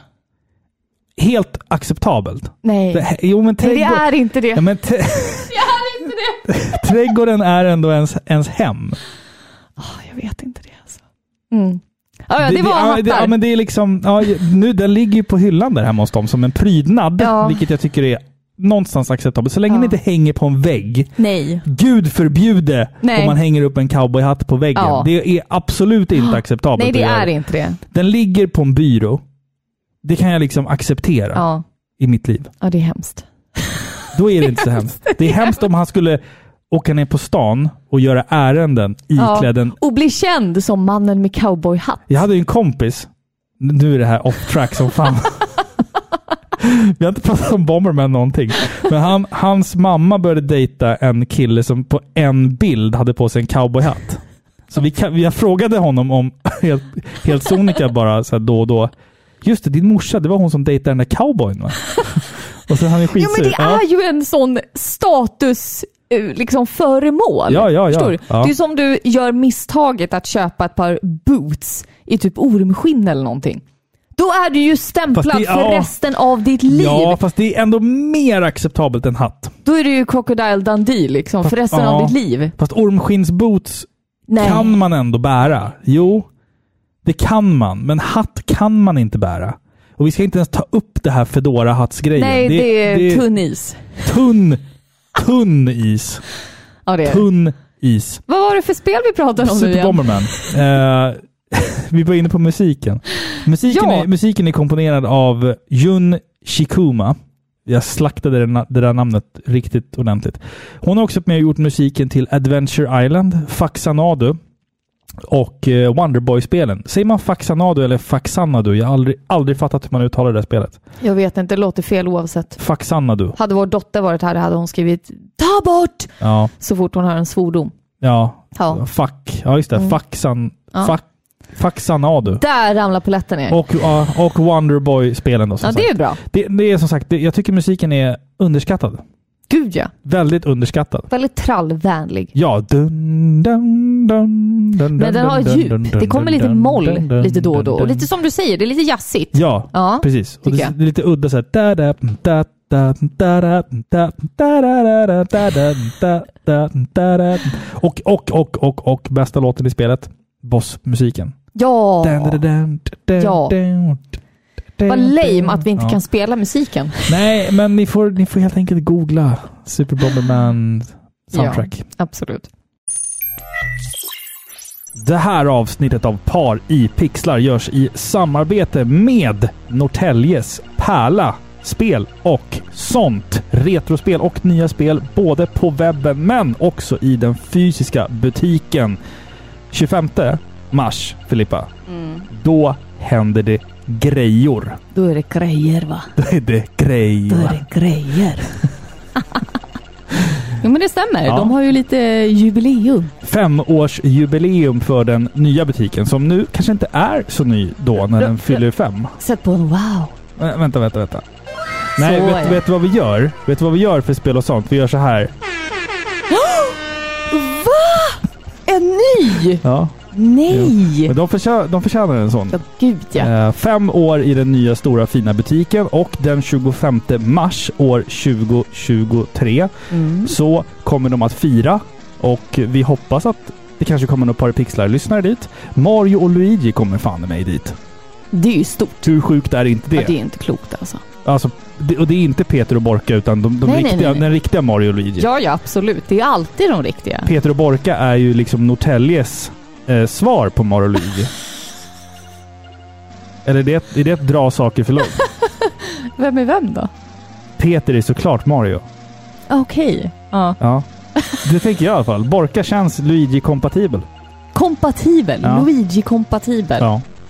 B: Helt acceptabelt.
A: Nej,
B: Det, jo, men
A: Nej, det
B: trädgård,
A: är inte
B: ja,
A: det.
B: men t- trädgården är ändå ens, ens hem.
A: Ah, Jag vet inte det alltså. Mm. Ah, ja, det, var
B: ja,
A: hattar.
B: det, ja, men det är liksom, ja, nu, den ligger ju på hyllan där hemma hos dem som en prydnad,
A: Ja.
B: vilket jag tycker är någonstans acceptabelt. Så länge
A: Ja.
B: den inte hänger på en vägg.
A: Nej.
B: Gud förbjude
A: Nej.
B: om man hänger upp en cowboyhatt på väggen.
A: Ja.
B: Det är absolut inte acceptabelt.
A: Nej, det
B: att göra.
A: är inte det.
B: Den ligger på en byrå. Det kan jag liksom acceptera
A: Ja,
B: i mitt liv.
A: ja det är hemskt.
B: Då är det inte så hemskt. Det är hemskt om han skulle åka ner på stan och göra ärenden iklädd en...
A: Och bli känd som mannen med cowboyhatt.
B: Jag hade ju en kompis. Nu är det här off track som fan. Vi har inte pratat om Bomberman någonting. Men han, hans mamma började dejta en kille som på en bild hade på sig en cowboyhatt. Så vi, kan, jag frågade honom om, helt, helt sonika bara så här då och då. Just det, din morsa, det var hon som dejtade den där cowboyn va? Och sen han är
A: Ja,
B: skitsur.
A: men det är ju en sån status eh, liksom föremål.
B: Ja, ja, ja.
A: Förstår du?
B: Ja.
A: Det är som du gör misstaget att köpa ett par boots i typ ormskinn eller någonting. Då är du ju stämplad
B: Fast det-
A: för
B: ja.
A: resten av ditt liv.
B: Ja, fast det är ändå mer acceptabelt än hatt.
A: Då är du ju Crocodile Dundee liksom, för resten
B: ja.
A: av ditt liv.
B: Fast ormskinnsboots
A: Nej.
B: kan man ändå bära. Jo, det kan man. Men hatt kan man inte bära. Och vi ska inte ens ta upp det här fedora hattsgrejen
A: Nej, det, är tunn is.
B: tunn, tunn is.
A: Ja, det är. det.
B: Tunn is.
A: Vad var det för spel vi pratade om nu
B: Super
A: igen?
B: Bomberman. Eh, vi var inne på musiken. Musiken,
A: Ja.
B: är, musiken är komponerad av Jun Shikuma. Jag slaktade det, na- det där namnet riktigt ordentligt. Hon har också med och gjort musiken till Adventure Island, Faxanadu och eh, Wonderboy-spelen. Säger man Faxanadu eller Faxanadu? Jag har aldrig, aldrig fattat hur man uttalar det där spelet.
A: Jag vet inte, det låter fel oavsett.
B: Faxanadu.
A: Hade vår dotter varit här hade hon skrivit ta bort
B: Ja,
A: så fort hon hör en svordom.
B: ja.
A: Ja. Mm.
B: Fack. Ja, just det. Faxan...
A: Ja.
B: Fack, Faxanadu.
A: Där ramlar polletten ner.
B: Och, ja, och Wonderboy-spelen då som
A: ja,
B: sagt.
A: det är bra.
B: Det, det är som sagt, det, jag tycker musiken är underskattad.
A: Gud ja.
B: Väldigt underskattad.
A: Väldigt trallvänlig.
B: Ja, dun, dun, dun, dun,
A: Men den har djup. Det kommer lite moll lite då och då. Och lite som du säger, det är lite jazzigt.
B: Ja,
A: Ja,
B: precis. Och
A: tycker
B: det,
A: jag.
B: det är lite udda såhär. Da, da, da, da, da, da, da, da, da, da, da, da, da, da, da, da. Och, och, och, och, och bästa låten i spelet. Bossmusiken.
A: Ja.
B: Dun, dun, dun, dun,
A: Ja.
B: dun, dun,
A: Vad lame att vi inte
B: Ja.
A: kan spela musiken.
B: Nej, men ni får, ni får helt enkelt googla Super Bomberman soundtrack.
A: Absolut.
B: Det här avsnittet av Par i pixlar görs i samarbete med Norrtäljes Pärla Spel och sånt. Retrospel och nya spel både på webben men också i den fysiska butiken. 25 mars, Filippa. Då händer det grejor.
A: Mm. Då är det grejer va?
B: Då är det grejor.
A: Då är det grejer. jo men det stämmer.
B: Ja.
A: De har ju lite jubileum.
B: femårsjubileum för den nya butiken som nu kanske inte är så ny då när den fyller fem.
A: Sätt på en wow.
B: Äh, vänta, vänta, vänta. Nej,
A: Så är
B: vet,
A: det.
B: vet du vad vi gör? Vet du vad vi gör för spel och sånt? Vi gör så här.
A: Va? En ny?
B: Ja.
A: Nej!
B: Men de, förtjä- de förtjänar en sån.
A: Ja, gud ja.
B: Eh, fem år i den nya stora fina butiken och den 25 mars år 2023
A: Mm.
B: så kommer de att fira och vi hoppas att det kanske kommer några par pixlar-lyssnare dit. Mario och Luigi kommer fan i mig dit.
A: Det är ju stort.
B: Hur sjukt är inte det?
A: Ja, det är inte klokt alltså.
B: Alltså, det, och det är inte Peter och Borka utan de, de
A: Nej, nej,
B: riktiga,
A: nej, nej.
B: den riktiga Mario och Luigi.
A: Ja, ja absolut. Det är alltid de riktiga.
B: Peter och Borka är ju liksom Norrtäljes eh, svar på Mario och Luigi. Eller är det, är det att dra saker för långt?
A: Vem är vem då?
B: Peter är såklart Mario.
A: Okej. Ja.
B: Ja. Det tänker jag i alla fall. Borka känns Luigi-kompatibel.
A: Kompatibel.
B: Ja.
A: Luigi-kompatibel. Ja.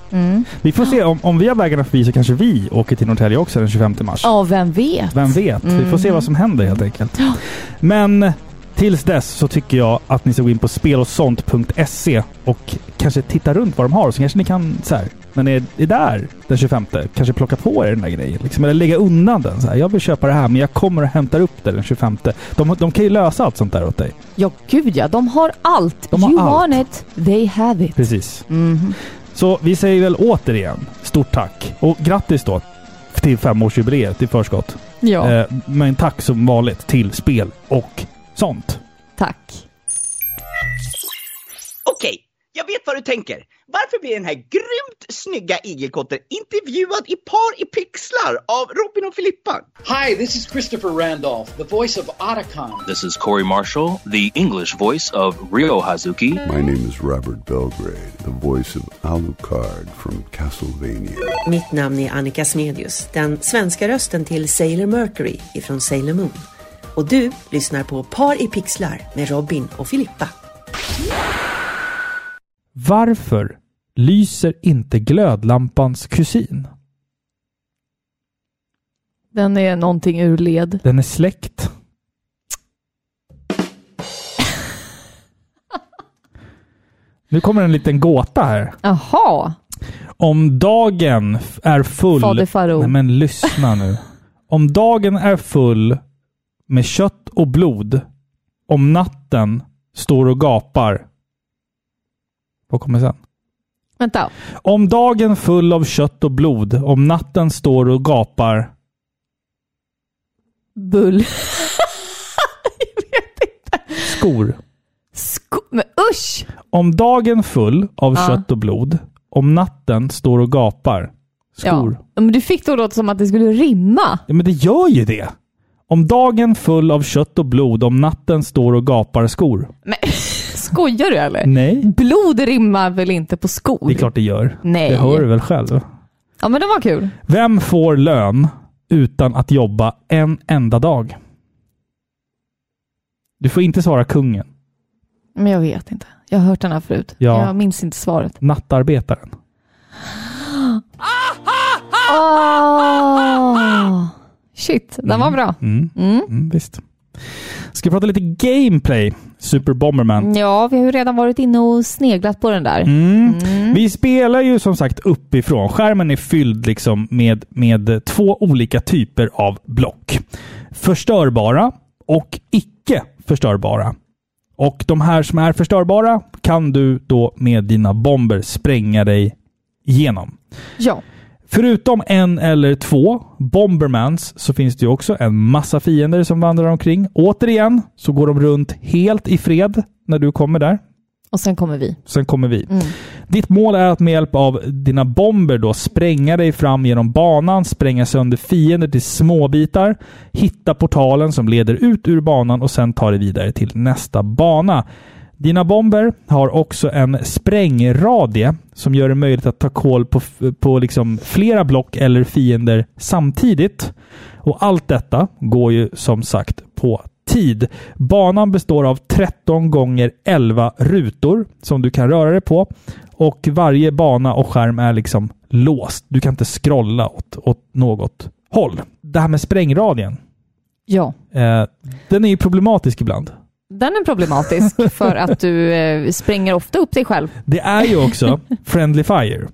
B: Ja.
A: Mm.
B: Vi får se. Om, om vi har vägarna förbi så kanske vi åker till Norrtälje också den 25 mars.
A: ja, vem vet?
B: Vem vet? Vi får se vad som händer helt enkelt.
A: Mm. Ja.
B: Men tills dess så tycker jag att ni ska gå in på spelosont.se E och kanske titta runt vad de har. Så kanske ni kan, så här, när ni är där den 25, kanske plocka på er den där grejen. Liksom, eller lägga undan den. Så här, jag vill köpa det här men jag kommer och hämtar upp det den 25. De, de kan ju lösa allt sånt där åt dig.
A: Ja, gud ja. De har allt.
B: De har
A: you
B: allt.
A: want it, they have it.
B: Precis.
A: Mhm.
B: Så vi säger väl återigen stort tack. Och grattis då till femårsjubileet i förskott.
A: Ja,
B: Eh, men tack som vanligt till spel och sånt.
A: tack.
D: Okej, jag vet vad du tänker. Varför blir den här grymt snygga igelkotten intervjuad i par i pixlar av Robin och Filippa?
E: Hi, this is Christopher Randolph, the voice of Otacon.
F: This is Corey Marshall, the English voice of Rio Hazuki.
G: My name is Robert Belgrade, the voice of Alucard from Castlevania.
H: Mitt namn är Annika Smedius, den svenska rösten till Sailor Mercury ifrån Sailor Moon. Och du lyssnar på Par i pixlar med Robin och Filippa.
B: Varför lyser inte glödlampans kusin?
A: Den är någonting ur led.
B: Den är släkt. Nu kommer en liten gåta här.
A: Jaha.
B: Om dagen f- är full...
A: Fader Farao.
B: Nej men lyssna nu. Om dagen är full med kött och blod, om natten står och gapar. Vad kommer sen?
A: Vänta.
B: Om dagen full av kött och blod, om natten står och gapar.
A: Bull. Jag vet inte.
B: Skor.
A: Sko- Men usch!
B: Om dagen full av
A: Ja.
B: kött och blod, om natten står och gapar. Skor. Ja.
A: Ja, men du fick det att låta som att det skulle rimma.
B: men det gör ju det! Om dagen full av kött och blod, om natten står och gapar skor.
A: Men, skojar du eller?
B: Nej,
A: Blod rimmar väl inte på skor?
B: det är klart det gör.
A: Nej.
B: Det hör du väl själv?
A: Ja men det var kul.
B: Vem får lön utan att jobba en enda dag? Du får inte svara kungen.
A: Men jag vet inte. Jag har hört den här förut.
B: Ja.
A: Jag minns inte svaret.
B: Nattarbetaren.
A: Oh! Shit, den var bra.
B: Ah! Mm. Mm, visst. Ska vi prata lite gameplay? Super Bomberman.
A: Ja, vi har ju redan varit inne och sneglat på den där.
B: Mm. Vi spelar ju som sagt uppifrån. Skärmen är fylld liksom med, med två olika typer av block. Förstörbara och icke förstörbara. Och de här som är förstörbara kan du då med dina bomber spränga dig igenom.
A: Ja.
B: Förutom en eller två Bombermans så finns det ju också en massa fiender som vandrar omkring. Återigen så går de runt helt i fred när du kommer där.
A: Och sen kommer vi.
B: Sen kommer vi. Ditt mål är att med hjälp av dina bomber då spränga dig fram genom banan, spränga sönder fiender till småbitar, hitta portalen som leder ut ur banan och sen ta dig vidare till nästa bana. Dina bomber har också en sprängradie som gör det möjligt att ta koll på, på liksom flera block eller fiender samtidigt. Och allt detta går ju som sagt på tid. Banan består av 13 gånger 11 rutor som du kan röra dig på och varje bana och skärm är liksom låst. Du kan inte scrolla åt, åt något håll. Det här med sprängradien,
A: Ja.
B: eh, den är ju problematisk ibland.
A: Den är problematisk för att du eh, springer ofta upp dig själv.
B: Det är ju också friendly fire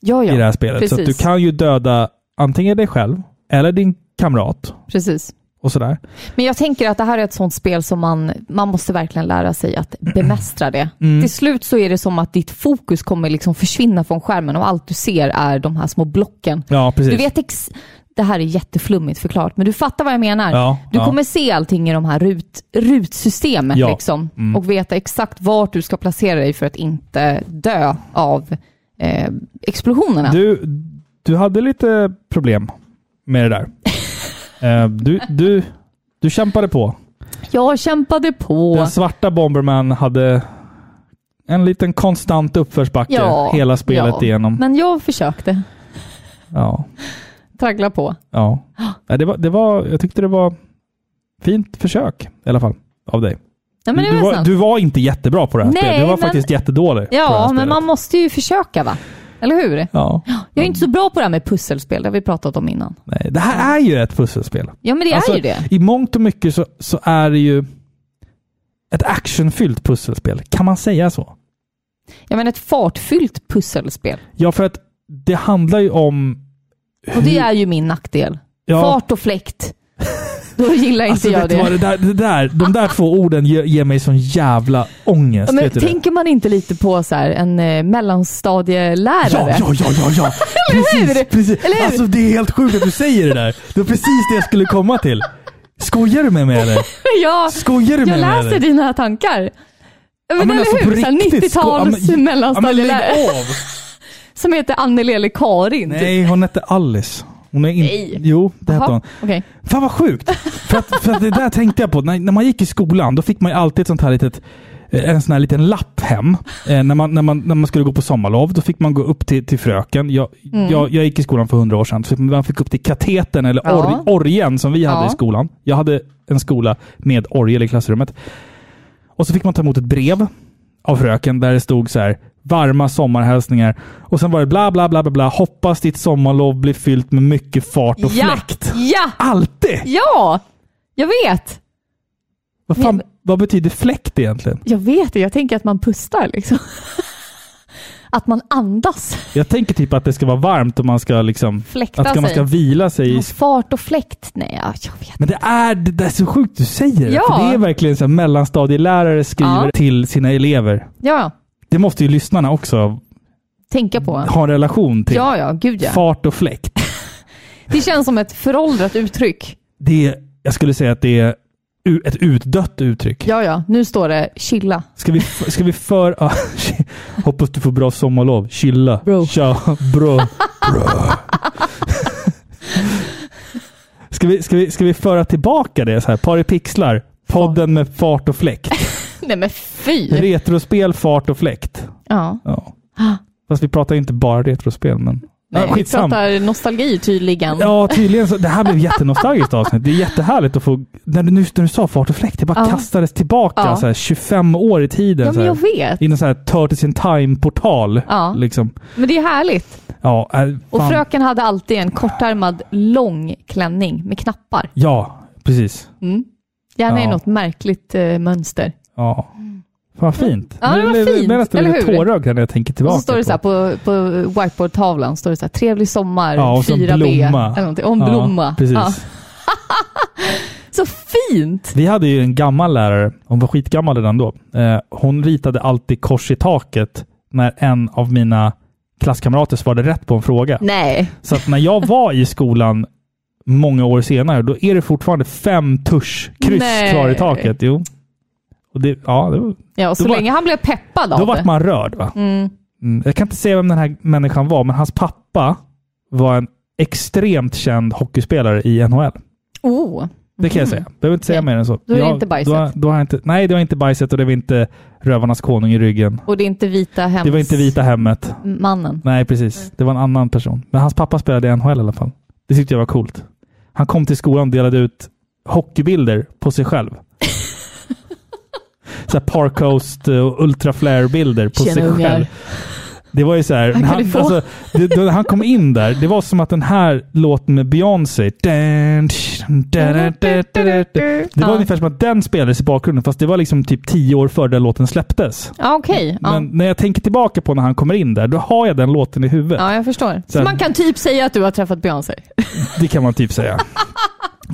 A: Ja,
B: i det
A: ja.
B: här spelet. Så att du
A: precis.
B: kan ju döda antingen dig själv eller din kamrat
A: Precis.
B: och sådär.
A: Men jag tänker att det här är ett sånt spel som man, man måste verkligen lära sig att bemästra det.
B: Mm.
A: Till slut så är det som att ditt fokus kommer liksom försvinna från skärmen och allt du ser är de här små blocken.
B: Ja, precis.
A: Du vet ex- det här är jätteflummigt förklarat, men du fattar vad jag menar.
B: Ja,
A: du
B: ja.
A: kommer se allting i de här rut, rutsystemet
B: Ja. Mm.
A: liksom, och veta exakt vart du ska placera dig för att inte dö av eh, explosionerna.
B: Du, du hade lite problem med det där. Eh, du, du, du kämpade på.
A: Jag kämpade på.
B: Den svarta Bomberman hade en liten konstant uppförsbacke
A: Ja,
B: hela spelet
A: ja.
B: igenom.
A: Men jag försökte
B: Ja,
A: traggla på.
B: ja. Ja, Det var, det var, jag tyckte det var fint försök i alla fall av dig.
A: Nej, men
B: Du,
A: det
B: du,
A: var
B: var,
A: sant.
B: du var inte jättebra på det här
A: Nej,
B: spelet. Du var
A: men-
B: faktiskt jättedålig på det här
A: Ja, men
B: spelet.
A: man måste ju försöka va? Eller hur?
B: Ja.
A: Jag är inte så bra på det här med pusselspel, det har vi pratat om innan.
B: Nej, det här är ju ett pusselspel.
A: Ja, men det
B: Alltså,
A: är ju det.
B: I mångt och mycket så, så är det ju ett actionfyllt pusselspel. Kan man säga så?
A: Jag menar ett fartfyllt pusselspel.
B: Ja, för att det handlar ju om...
A: Och det är ju min nackdel.
B: Ja.
A: Fart och fläkt. Då gillar inte
B: Alltså,
A: jag
B: vet du
A: det.
B: vad, det där, det där, de där två orden ger, ger mig sån jävla ångest.
A: Ja, men
B: vet du det?
A: tänker man inte lite på så här, en eh, mellanstadielärare?
B: Ja, ja, ja, ja, ja.
A: hur?
B: precis, precis.
A: Eller hur?
B: Alltså det är helt sjukt att du säger det där. Det var precis det jag skulle komma till. Skojar du med mig eller?
A: Ja,
B: Skojar du med
A: jag
B: mig
A: läser
B: eller?
A: dina tankar. Ja, men, eller
B: alltså, på
A: hur? Så här
B: riktigt, sko- ja, men-
A: 90-tals
B: Ja, men lägg
A: mellanstadielärare
B: av!
A: som heter Anneli eller Karin. typ.
B: Nej, hon hette Alice. Hon är in...
A: Nej.
B: Jo, det hette
A: Jaha,
B: hon.
A: okej.
B: Fan vad sjukt! För, att, för att det där tänkte jag på. När, när man gick i skolan, då fick man ju alltid ett sånt här litet eh, en sån här liten lapp hem. Eh, när, man, när, man, när man skulle gå på sommarlov, då fick man gå upp till, till fröken. Jag,
A: Mm.
B: jag, jag gick i skolan för hundra år sedan. Så man fick upp till kateten, eller
A: Ja.
B: org, orgen som vi hade
A: Ja.
B: i skolan. Jag hade en skola med orgel i klassrummet. Och så fick man ta emot ett brev av fröken där det stod så här varma sommarhälsningar. Och sen var det bla bla bla bla bla. Hoppas ditt sommarlov blir fyllt med mycket fart och
A: Ja,
B: fläkt.
A: ja,
B: Alltid!
A: ja! Jag vet.
B: Vad, fan, vad betyder fläkt egentligen?
A: Jag vet det. Jag tänker att man pustar liksom. Att man andas.
B: Jag tänker typ att det ska vara varmt och man ska liksom...
A: Fläkta
B: Att ska, man
A: sig.
B: ska vila sig i...
A: Fart och fläkt? Nej, ja, jag vet.
B: Men det är, det där är så sjukt du säger
A: Ja.
B: För det är verkligen så här mellanstadielärare skriver
A: Ja.
B: till sina elever.
A: Ja, ja.
B: Det måste ju lyssnarna också
A: Tänka på.
B: ha en relation till.
A: Ja, ja. Gud ja.
B: Mm. Fart och fläkt.
A: Det känns som ett föråldrat uttryck.
B: Det är, jag skulle säga att det är u- ett utdött uttryck.
A: Ja, ja. Nu står det chilla.
B: Ska vi, f- ska vi för... ah, shit. Hoppas du får bra sommarlov. Chilla.
A: Bro.
B: Tja, bro. ska, vi, ska, vi, ska vi föra tillbaka det så här? Par i pixlar. Podden med fart och fläkt.
A: Nej men fy!
B: Retrospel, fart och fläkt.
A: Ja.
B: Ja. Fast vi pratar ju inte bara retrospel, men...
A: Nej, vi
B: ja, skitsam.
A: pratar nostalgi tydligen.
B: Ja, tydligen. Så, det här blev jättenostalgiskt avsnitt. Det är jättehärligt att få... När du, nu när du sa fart och fläkt, det bara
A: Ja.
B: kastades tillbaka
A: Ja.
B: så här, 25 år i tiden.
A: Ja,
B: så
A: men
B: här.
A: jag vet.
B: I någon sån här Turtles in Time-portal.
A: Ja.
B: Liksom.
A: Men det är härligt.
B: Ja, äh, fan.
A: Och fröken hade alltid en kortärmad lång klänning med knappar.
B: ja, precis.
A: Gärna i
B: Ja.
A: något märkligt eh, mönster.
B: Ja. Fan vad fint.
A: Mm. Ja, det var fint,
B: Jag nästan
A: eller
B: lite
A: hur?
B: tårögd här när jag tänker
A: Och
B: tillbaka.
A: så står det så här på, på whiteboardtavlan, står det så här, trevlig sommar,
B: Ja, och så en
A: 4B.
B: blomma.
A: Eller någonting. Och en
B: Ja,
A: blomma.
B: precis.
A: Ja. Så fint!
B: Vi hade ju en gammal lärare, hon var skitgammal redan då. Eh, hon ritade alltid kors i taket när en av mina klasskamrater svarade rätt på en fråga.
A: Nej.
B: Så att när jag var i skolan många år senare, då är det fortfarande fem tuschkryss
A: Nej.
B: kvar i taket. Jo. Och det, ja, det var,
A: Ja, och så
B: Då var-
A: länge han blev peppad av det.
B: Då vart man rörd. Va? Mm. Jag kan inte säga vem den här människan var, men hans pappa var en extremt känd hockeyspelare i NHL.
A: Oh,
B: Det kan jag säga. Behöver inte säga
A: Okej.
B: mer än så.
A: Då är det
B: jag,
A: inte bajset.
B: Då, då har jag inte, nej, det var inte bajset och det var inte rövarnas konung i ryggen.
A: Och det är inte vita Mm. hems...
B: Det var inte Vita hemmet.
A: mannen.
B: Nej, precis. Det var en annan person. Men hans pappa spelade i NHL i alla fall. Det tyckte jag var coolt. Han kom till skolan och delade ut hockeybilder på sig själv. så här Park Coast eh, och Ultra Flare-bilder på
A: Tjena,
B: sig
A: ungar.
B: själv. Det var ju så här,
A: kan
B: han,
A: du få.
B: alltså, det, då, han kom in där, det var som att den här låten med Beyoncé, Dan, da, da, da, da, da, da. det var
A: Ja.
B: ungefär som att den spelades i bakgrunden, fast det var liksom typ tio år före den låten släpptes.
A: Ja, okej. Ja.
B: Mm, Men när jag tänker tillbaka på när han kommer in där, då har jag den låten i huvudet.
A: ja, jag förstår. Så
B: Sen-
A: man kan typ säga att du har träffat Beyoncé.
B: Det kan man typ säga.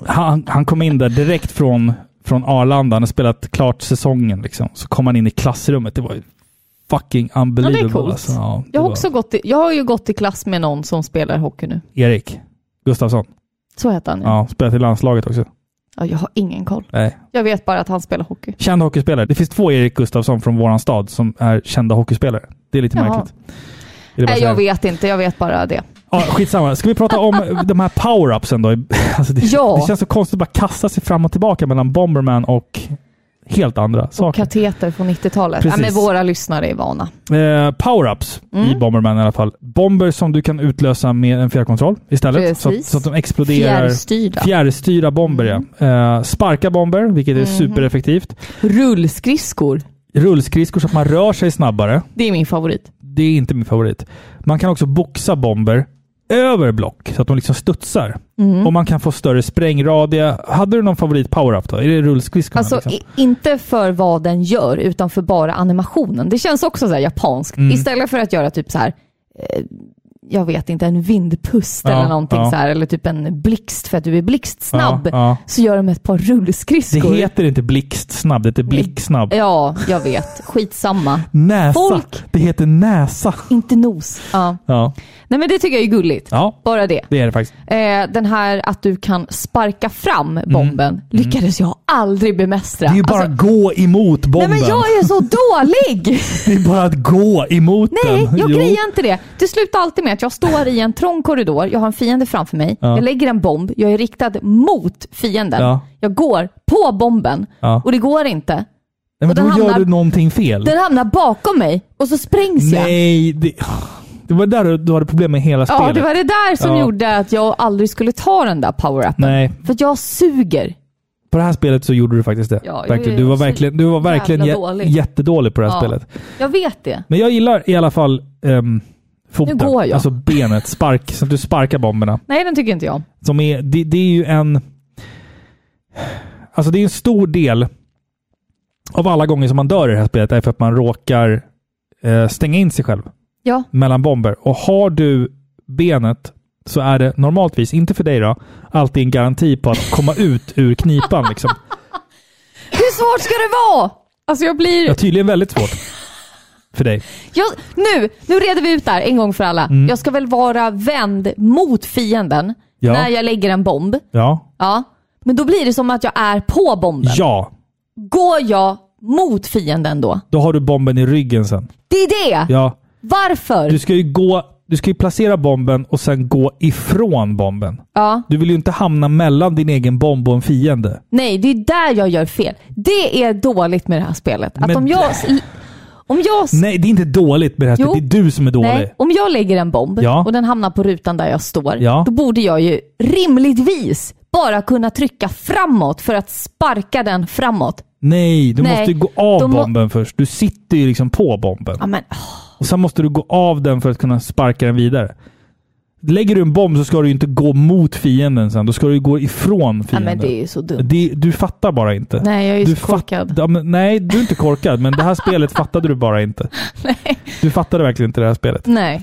B: Han, han kom in där direkt från, från Arlanda. Han har spelat klart säsongen. Liksom. Så kom han in i klassrummet. Det var ju fucking unbelievable.
A: coolt.
B: alltså. Ja, det
A: Jag har,
B: var-
A: också gått i, jag har ju gått i klass med någon som spelar hockey nu.
B: Erik Gustafsson.
A: Så heter han ju. Ja.
B: Ja, spelat i landslaget också.
A: jag har ingen koll.
B: Nej.
A: Jag vet bara att han spelar hockey.
B: Känd hockeyspelare. Det finns två Erik Gustafsson från våran stad som är kända hockeyspelare. Det är lite
A: Jaha.
B: märkligt. ville bara
A: Nej,
B: säga
A: jag
B: det.
A: vet inte. Jag vet bara det.
B: Ja, skitsamma. Ska vi prata om de här power-upsen då? Alltså det,
A: Ja.
B: det känns så konstigt att bara kasta sig fram och tillbaka mellan Bomberman och helt andra
A: Och
B: saker.
A: kateter från 90-talet. Ja,
B: Precis.
A: men våra lyssnare är vana.
B: Eh, power-ups
A: Mm.
B: i Bomberman i alla fall. Bomber som du kan utlösa med en fjärrkontroll istället. Så,
A: Precis.
B: så att de exploderar.
A: Fjärrstyrda.
B: Fjärrstyrda bomber,
A: Mm.
B: ja. Eh, sparka bomber, vilket är
A: Mhm.
B: supereffektivt.
A: Rullskridskor.
B: Rullskridskor så att man rör sig snabbare.
A: Det är min favorit.
B: Det är inte min favorit. Man kan också boxa bomber över block så att de liksom studsar.
A: Mm.
B: Och man kan få större sprängradie. Hade du någon favorit power-up då? Är det rullskridskorna?
A: Alltså,
B: liksom?
A: i, inte för vad den gör, utan för bara animationen. Det känns också så här japanskt.
B: Mm.
A: Istället för att göra typ så här, eh, jag vet inte, en vindpust
B: Ja,
A: eller någonting
B: ja.
A: så här, eller typ en blixt för att du är blixtsnabb,
B: Ja, ja.
A: så gör de ett par
B: Det
A: rullskridskor.
B: heter inte blixtsnabb, det heter blicksnabb.
A: Ja, jag vet. Skitsamma.
B: Näsa!
A: Folk!
B: Det heter näsa.
A: inte nos. Ja.
B: Ja.
A: Nej men det tycker jag är gulligt.
B: ja,
A: Bara det.
B: det är det faktiskt.
A: Eh, den här att du kan sparka fram bomben lyckades jag aldrig bemästra.
B: Mm. Det är ju bara
A: Alltså,
B: att gå emot
A: Nej
B: bomben.
A: men jag är så dålig!
B: Det är bara att gå emot
A: Nej,
B: den.
A: jag
B: Jo.
A: grejar inte det. Det slutar alltid med att jag står i en trång korridor, jag har en fiende framför mig, jag lägger en bomb, jag är riktad mot fienden.
B: Ja.
A: Jag går på bomben
B: Ja.
A: och det går inte.
B: Nej, men
A: Och
B: då
A: den
B: gör
A: hamnar-
B: du någonting fel.
A: Den hamnar bakom mig och så sprängs jag.
B: Nej, det, det var där du, du hade problem med hela
A: Ja,
B: spelet.
A: det var det där som
B: Ja.
A: gjorde att jag aldrig skulle ta den där power-upen.
B: Nej,
A: För att jag suger.
B: på det här spelet så gjorde du faktiskt det.
A: Ja, jag
B: verkligen.
A: är
B: Du var
A: så
B: verkligen, du var verkligen
A: jävla
B: jä-
A: dålig.
B: jättedålig på det här
A: Ja.
B: spelet.
A: Jag vet det.
B: Men jag gillar i alla fall ehm, foten.
A: Nu går jag.
B: Alltså benet. Spark, så att du sparkar bomberna.
A: Nej, den tycker inte jag.
B: Som är, det, det är ju en... Alltså det är en stor del av alla gånger som man dör i det här spelet är för att man råkar eh, stänga in sig själv
A: Ja,
B: mellan bomber. Och har du benet så är det normaltvis, inte för dig då, alltid en garanti på att komma ut ur knipan. Liksom.
A: Hur svårt ska det vara? Alltså jag blir...
B: Ja, tydligen väldigt svårt för dig.
A: Jag, nu, nu reder vi ut det här en gång för alla.
B: Mm.
A: Jag ska väl vara vänd mot fienden
B: Ja.
A: när jag lägger en bomb.
B: Ja.
A: Ja. Men då blir det som att jag är på bomben.
B: ja,
A: Går jag mot fienden då?
B: då har du bomben i ryggen sen.
A: Det är det!
B: Ja.
A: Varför?
B: Du ska ju gå... Du ska ju placera bomben och sen gå ifrån bomben.
A: Ja.
B: Du vill ju inte hamna mellan din egen bomb och en fiende.
A: Nej, det är där jag gör fel. Det är dåligt med det här spelet. Att
B: Men-
A: om jag... Om jag
B: Nej, det är inte dåligt med det här
A: Jo.
B: spelet. Det är du som är dålig.
A: Nej, om jag lägger en bomb
B: Ja.
A: och den hamnar på rutan där jag står,
B: Ja.
A: då borde jag ju rimligtvis bara kunna trycka framåt för att sparka den framåt.
B: Nej, du
A: Nej.
B: måste ju gå av
A: Då må-
B: bomben först. Du sitter ju liksom på bomben.
A: Ja, men,
B: Och sen måste du gå av den för att kunna sparka den vidare. Lägger du en bomb så ska du ju inte gå mot fienden sen. Då ska du ju gå ifrån
A: ja,
B: fienden.
A: men det är ju så dumt.
B: Det- du fattar bara inte.
A: Nej, jag är ju
B: du
A: så korkad.
B: Ja, men, nej, du är inte korkad, men det här spelet fattade du bara inte.
A: Nej.
B: Du fattade verkligen inte det här spelet.
A: Nej.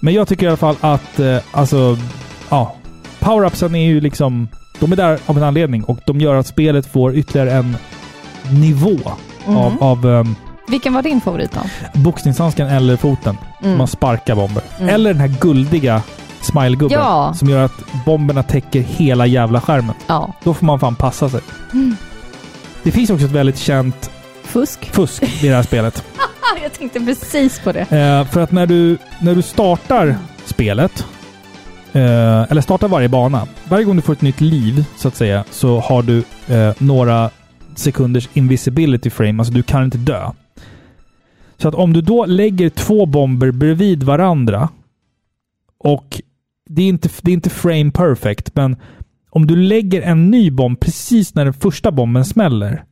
B: Men jag tycker i alla fall att, eh, alltså, ja. Power-upsen är ju liksom, de är där av en anledning och de gör att spelet får ytterligare en nivå
A: Mm.
B: av, av ehm,
A: Vilken var din favorit då?
B: boxningshandsken eller foten.
A: Mm.
B: Man sparkar bomber.
A: Mm.
B: Eller den här guldiga smilegubben
A: Ja.
B: som gör att bomberna täcker hela jävla skärmen.
A: Ja.
B: Då får man fan passa sig.
A: Mm.
B: Det finns också ett väldigt känt
A: Fusk?
B: fusk i det här spelet.
A: Ah, jag tänkte precis på det.
B: Eh, för att när du, när du startar spelet, eh, eller startar varje bana, varje gång du får ett nytt liv så att säga, så har du eh, några sekunders invisibility frame, alltså du kan inte dö. Så att om du då lägger två bomber bredvid varandra och det är inte, det är inte frame perfect, men om du lägger en ny bomb precis när den första bomben smäller,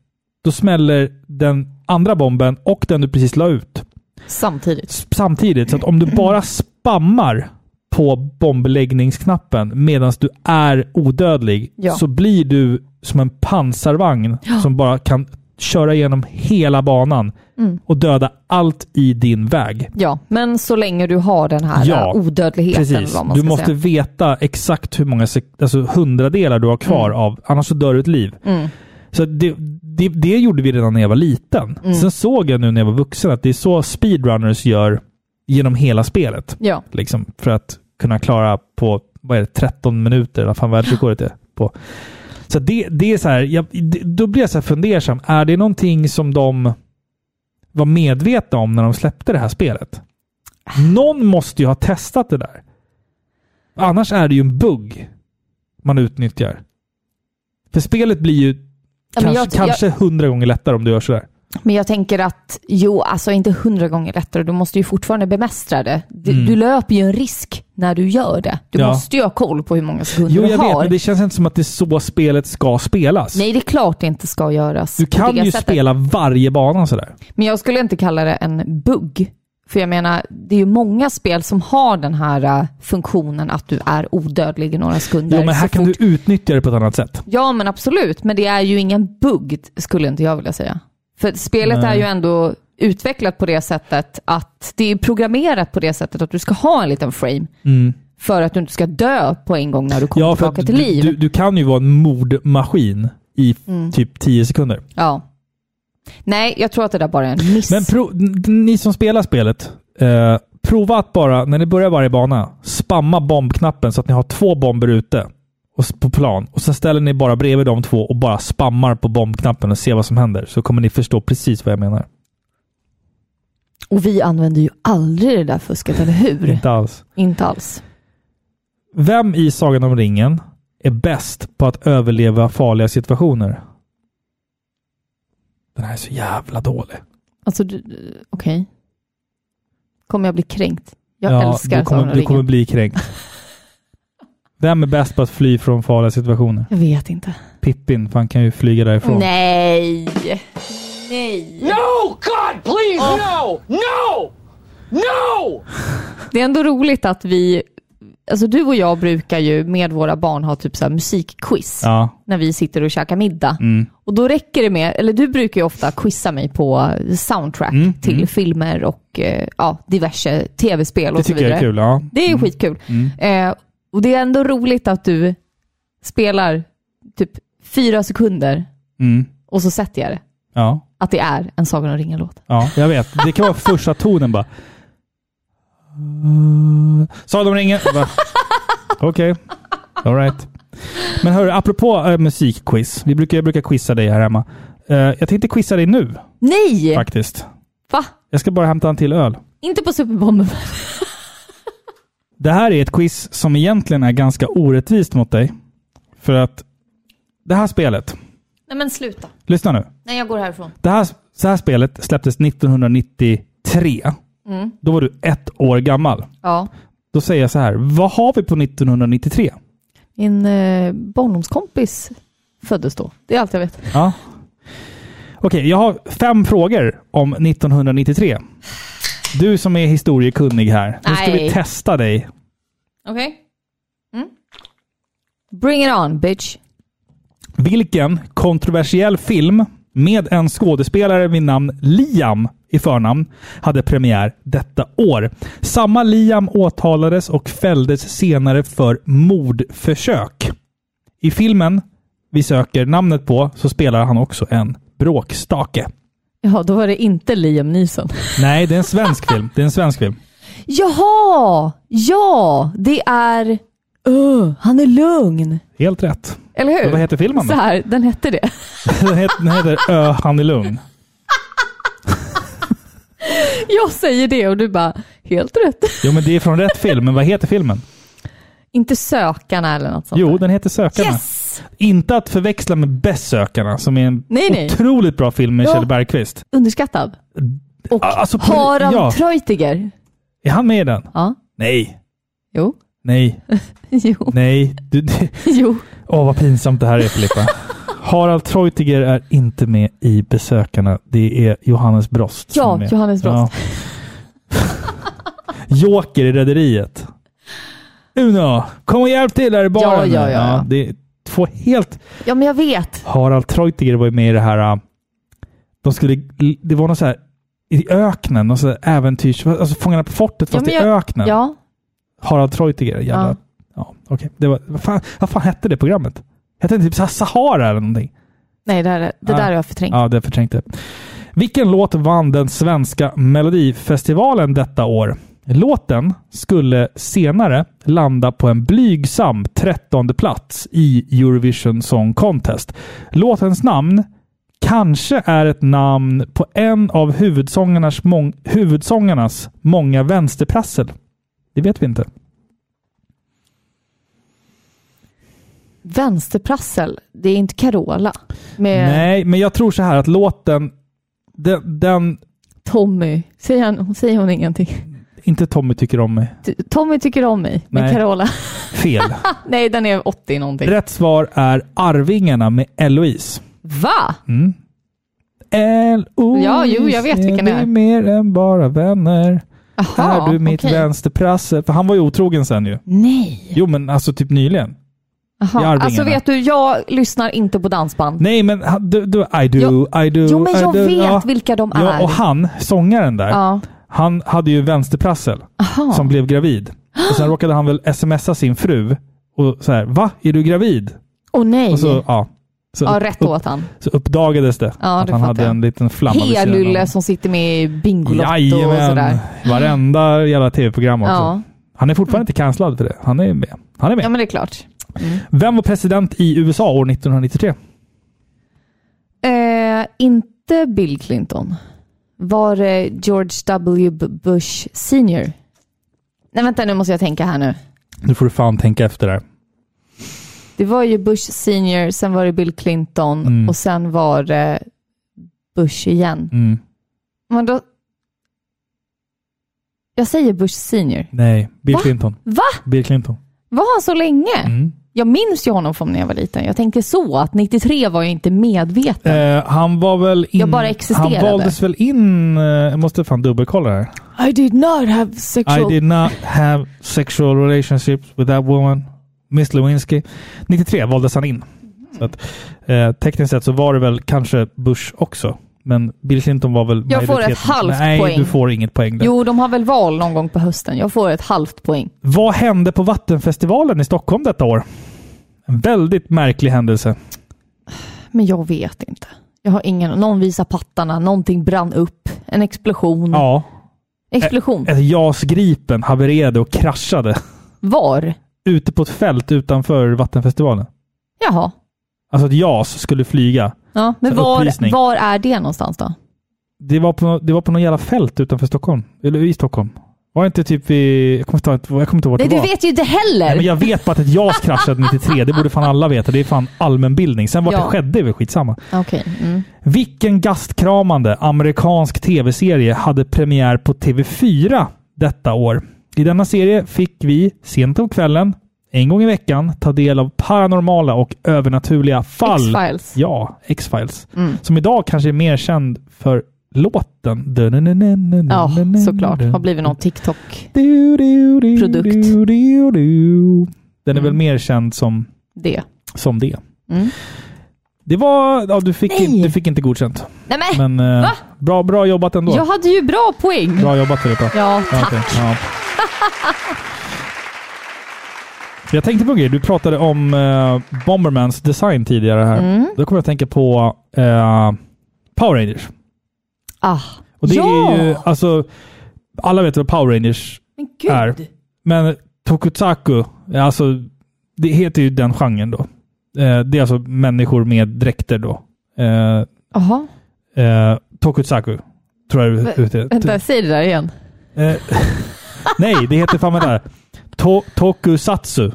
B: då smäller den andra bomben och den du precis la ut
A: Samtidigt.
B: s- samtidigt. Så att om du bara spammar på bombläggningsknappen medan du är odödlig
A: Ja.
B: så blir du som en pansarvagn som bara kan köra igenom hela banan
A: Mm.
B: och döda allt i din väg.
A: Ja, men så länge du har den här
B: Ja,
A: eh, odödligheten. eller
B: Precis.
A: Vad man
B: Du
A: ska
B: måste
A: säga.
B: veta exakt hur många sek- alltså hundradelar du har kvar
A: Mm.
B: av, annars så dör du ett liv. Så att det, det, det gjorde vi redan när jag var liten.
A: Mm.
B: Sen såg jag nu när jag var vuxen att det är så speedrunners gör genom hela spelet
A: Ja.
B: liksom, för att kunna klara på vad är det, 13 minuter, vad fan världsrekordet är. På. Så det, det är så här, jag, det, då blir jag så här fundersam. Är det någonting som de var medvetna om när de släppte det här spelet? Någon måste ju ha testat det där. Annars är det ju en bugg man utnyttjar. För spelet blir ju
A: Ja, men
B: kanske,
A: jag-
B: kanske hundra gånger lättare om du gör sådär.
A: Men jag tänker att, jo, alltså inte hundra gånger lättare. Du måste ju fortfarande bemästra det. Du, du löper ju en risk när du gör det. Du
B: Mm. Ja.
A: måste ju ha koll på hur många sekunder
B: Jo,
A: du
B: jag
A: har.
B: vet, men det känns inte som att det är så spelet ska spelas.
A: Nej, det är klart det inte ska göras.
B: du
A: på
B: kan
A: det
B: ju
A: sättet.
B: spela varje bana sådär.
A: Men jag skulle inte kalla det en bugg. För jag menar, det är ju många spel som har den här eh, funktionen att du är odödlig i några sekunder.
B: Jo, men här
A: så
B: kan
A: fort-
B: du utnyttja det på ett annat sätt.
A: Ja, men absolut. Men det är ju ingen bugg, skulle inte jag vilja säga. För spelet
B: Nej.
A: är ju ändå utvecklat på det sättet att det är programmerat på det sättet att du ska ha en liten frame för att du inte ska dö på en gång när du kommer
B: Mm. Ja, för
A: tillbaka
B: att
A: till
B: du,
A: liv.
B: du, du kan ju vara en mordmaskin i
A: Mm.
B: typ 10 sekunder.
A: Ja. Nej, jag tror att det där bara är en miss.
B: Men pro, n- ni som spelar spelet, eh, prova att bara, när ni börjar varje bana, spamma bombknappen så att ni har två bomber ute och, s- på plan. Och sen ställer ni bara bredvid de två och bara spammar på bombknappen och ser vad som händer. Så kommer ni förstå precis vad jag menar.
A: Och vi använder ju aldrig det där fusket, eller hur?
B: Inte alls.
A: inte alls.
B: Vem i Sagan om ringen är bäst på att överleva farliga situationer? Den här är så jävla dålig.
A: Alltså, du- okej. Kommer jag bli kränkt? Jag älskar
B: du kommer,
A: Sagan om
B: du kommer
A: ringen.
B: bli kränkt. Vem är bäst på att fly från farliga situationer?
A: Jag vet inte.
B: Pippin, för han kan ju flyga därifrån.
A: Nej! Nej!
E: No, God, please, no, no, no.
A: Det är ändå roligt att vi, alltså du och jag brukar ju med våra barn ha typ så här musikquiz
B: Ja. Mm.
A: när vi sitter och käkar middag. Och då räcker det med, eller du brukar ju ofta quizza mig på soundtrack
B: Mm,
A: till filmer och eh, ja, diverse tv-spel
B: Det
A: och så
B: tycker jag
A: vidare.
B: är kul. Ja.
A: Det är ju skitkul. Eh, och det är ändå roligt att du spelar typ fyra sekunder
B: Mm.
A: och så sätter jag det.
B: Ja.
A: Att det är en Sagan om ringen-låt.
B: ja, jag vet. Det kan vara första tonen bara. Sagan om ringen. Bara, Okej. All right. Men hörru, apropå eh, musikquiz. Vi brukar, jag brukar quizza dig här hemma. Eh, jag tänkte quizza dig nu
A: Nej!
B: faktiskt.
A: Va?
B: Jag ska bara hämta en till öl.
A: Inte på Superbomben.
B: Det här är ett quiz som egentligen är ganska orättvist mot dig. För att det här spelet,
A: Nej men sluta.
B: lyssna nu.
A: Nej, jag går härifrån.
B: Det här, så här spelet släpptes 1993. Då var du ett år gammal.
A: Ja.
B: Då säger jag så här, vad har vi på 1993?
A: Min eh, barndomskompis föddes då. Det är allt jag vet.
B: Ja. Okej, jag har fem frågor om 1993. Du som är historiekunnig här. Nu ska
A: Nej.
B: vi testa dig.
A: Okej? Mm. Bring it on, bitch.
B: Vilken kontroversiell film med en skådespelare vid namn Liam i förnamn hade premiär detta år. Samma Liam åtalades och fälldes senare för mordförsök. I filmen vi söker namnet på så spelar han också en bråkstake.
A: Ja, då var det inte Liam Neeson.
B: Nej, det är en svensk film. Det är en svensk film.
A: Jaha! Ja, det är... Öh, han är lugn.
B: Helt rätt.
A: Eller hur?
B: Vad heter filmen
A: Så
B: då?
A: här, den hette det.
B: Den heter, den heter Ö, han är lugn.
A: Jag säger det och du bara, helt rätt.
B: Jo, men det är från rätt film. Men vad heter filmen?
A: Inte Sökarna eller något sånt.
B: Jo, den heter Sökarna.
A: Yes!
B: Inte att förväxla med Besökarna, som är en
A: Nej, nej.
B: otroligt bra film med
A: Ja.
B: Kjell Bergqvist.
A: Underskattad. Och
B: Alltså, på-
A: Harald
B: ja.
A: Treutiger.
B: Är han med i den?
A: Ja.
B: Nej.
A: Jo.
B: Nej.
A: Jo.
B: Nej. Du, du.
A: Jo.
B: Åh, vad pinsamt det här är, Filippa. Harald Treutiger är inte med i Besökarna. Det är Johannes Brost som
A: Ja,
B: är med.
A: Johannes Brost.
B: Ja. Joker i Rederiet. Uno, kom och hjälp till där i baren.
A: Ja, ja, ja, ja.
B: det är två helt...
A: Ja, men jag vet.
B: Harald Treutiger var ju med i det här... äh, De skulle... Det var något så här... I öknen, något så här äventyrs... Alltså Fångarna på fortet fast
A: men
B: i
A: jag-
B: öknen.
A: Ja.
B: Harald Treutiger. Jävla, ja.
A: Ja.
B: okej. Det var, vad, fan, vad fan hette det programmet? Hette det typ så här Sahara eller någonting?
A: Nej, det, här, det
B: Ja.
A: där har jag förträngt.
B: Ja, det förträngde jag. Vilken låt vann den svenska melodifestivalen detta år? Låten skulle senare landa på en blygsam trettonde plats i Eurovision Song Contest. Låtens namn kanske är ett namn på en av huvudsångarnas, mång- huvudsångarnas många vänsterprassel. Det vet vi inte.
A: Vänsterprassel, det är inte Carola med
B: Nej, men jag tror så här att låten, den, den
A: Tommy. Säger, han, säger hon ingenting?
B: inte Tommy tycker om mig.
A: T- Tommy tycker om mig, men
B: Nej.
A: Carola...
B: Fel.
A: Nej, den är 80 någonting.
B: Rätt svar är Arvingarna med Eloise.
A: Va?
B: Mm. Eloise,
A: Ja, jo, jag vet vilken det
B: vi
A: är.
B: mer än bara vänner.
A: Jaha,
B: är du mitt
A: okej.
B: vänsterprassel? För han var ju otrogen sen ju.
A: Nej.
B: Jo, men alltså typ nyligen. I
A: Jaha.
B: Arvingarna.
A: Alltså vet du, jag lyssnar inte på dansband.
B: Nej, men han- du, du, I do, I do,
A: Jo, men
B: I
A: jag
B: do.
A: vet
B: ja.
A: vilka de är.
B: Ja, och han, sångaren där,
A: Ja.
B: han hade ju vänsterprassel som blev gravid. Och sen råkade han väl smsa sin fru och så här, va? Är du gravid?
A: Åh nej.
B: Och så, ja. Så,
A: Mm. ja,
B: Alltså, upp-
A: rätt åt han.
B: så uppdagades det
A: Ja,
B: att
A: det
B: han
A: fattar
B: hade
A: jag.
B: en liten flamma vid sidan av honom.
A: P-Lulle som sitter med i Bingolotto och sådär.
B: Varenda jävla tv-program också.
A: Ja.
B: Han är fortfarande inte cancellad för det. Han är med. Han är med.
A: ja, men det är klart.
B: Vem var president i USA år 1993?
A: Eh, inte Bill Clinton. Var det George W. B- Bush senior? Nej, vänta nu måste jag tänka här nu.
B: Nu får du fan tänka efter där.
A: Det var ju Bush senior, sen var det Bill Clinton och sen var det Bush igen.
B: Mm.
A: Men då... Jag säger Bush senior.
B: Nej, Bill
A: Va?
B: Clinton.
A: Va?
B: Bill Clinton.
A: Var han så länge?
B: Mm.
A: Jag minns ju honom från när jag var liten. Jag tänkte så, att 93 var jag inte medveten.
B: Eh, han var väl in...
A: Jag bara
B: han
A: existerade.
B: valdes väl in... eh, Jag måste fan dubbelkolla det här.
A: Eh, I did not have sexual...
B: I did not have sexual relationships with that woman. Miss Lewinsky. 93 valdes han in. Så att, eh, tekniskt sett så var det väl kanske Bush också. Men Bill Clinton var väl
A: Jag får ett
B: majoriteten.
A: halvt
B: Nej,
A: poäng.
B: du får inget poäng där.
A: Jo, de har väl val någon gång på hösten. Jag får ett halvt poäng.
B: Vad hände på Vattenfestivalen i Stockholm detta år? En väldigt märklig händelse.
A: Mm. Men jag vet inte. Jag har ingen... Någon visar pattarna, någonting brann upp. En explosion.
B: Ja, eh,
A: Explosion.
B: ett JAS Gripen havererade och kraschade
A: Var?
B: ute på ett fält utanför Vattenfestivalen.
A: Jaha.
B: Alltså att JAS skulle flyga.
A: Ja, men
B: Så upplysning.
A: var, var är det någonstans då?
B: Det var på, det var på någon jävla fält utanför Stockholm. Eller i Stockholm. Var det inte typ i... Jag kommer inte, ihåg- jag kommer inte ihåg vart
A: Nej,
B: det
A: du
B: var.
A: vet ju inte heller!
B: Nej, men jag vet bara att ett JAS kraschade 93. Det borde fan alla veta. Det är fan allmänbildning. Sen vart
A: Ja.
B: det skedde är väl skitsamma.
A: Okej. Mm.
B: Vilken gastkramande amerikansk tv-serie hade premiär på TV4 detta år? I denna serie fick vi sent om kvällen, en gång i veckan, ta del av paranormala och övernaturliga fall.
A: X-Files.
B: Ja, X-Files.
A: Mm.
B: Som idag kanske är mer känd för låten.
A: Ja,
B: Ja,
A: såklart. Har blivit någon TikTok. Produkt.
B: Produkt. Den är väl
A: Mm.
B: mer känd som,
A: Det.
B: som det.
A: Mm.
B: Det var... Ja, du fick,
A: Nej.
B: inte, du fick inte godkänt.
A: Nej men,
B: Men eh,
A: Va?
B: bra, bra jobbat ändå.
A: jag hade ju bra poäng.
B: Bra jobbat Filippa.
A: Ja,
B: Ja,
A: tack.
B: okej. Ja. Jag tänkte på en grej. Du pratade om eh, Bombermans design tidigare här.
A: Mm.
B: Då kommer jag att tänka på eh, Power Rangers.
A: Ah.
B: Och det
A: ja!
B: är ju, alltså, alla vet vad Power Rangers
A: Men gud.
B: är. Men Tokusatsu, alltså, det heter ju den genren då. Eh, det är alltså människor med dräkter då. Eh,
A: Jaha.
B: eh, Tokusatsu, tror jag det heter.
A: Vänta, säg det där igen.
B: Eh, nej, det heter fan vad det är. To tokusatsu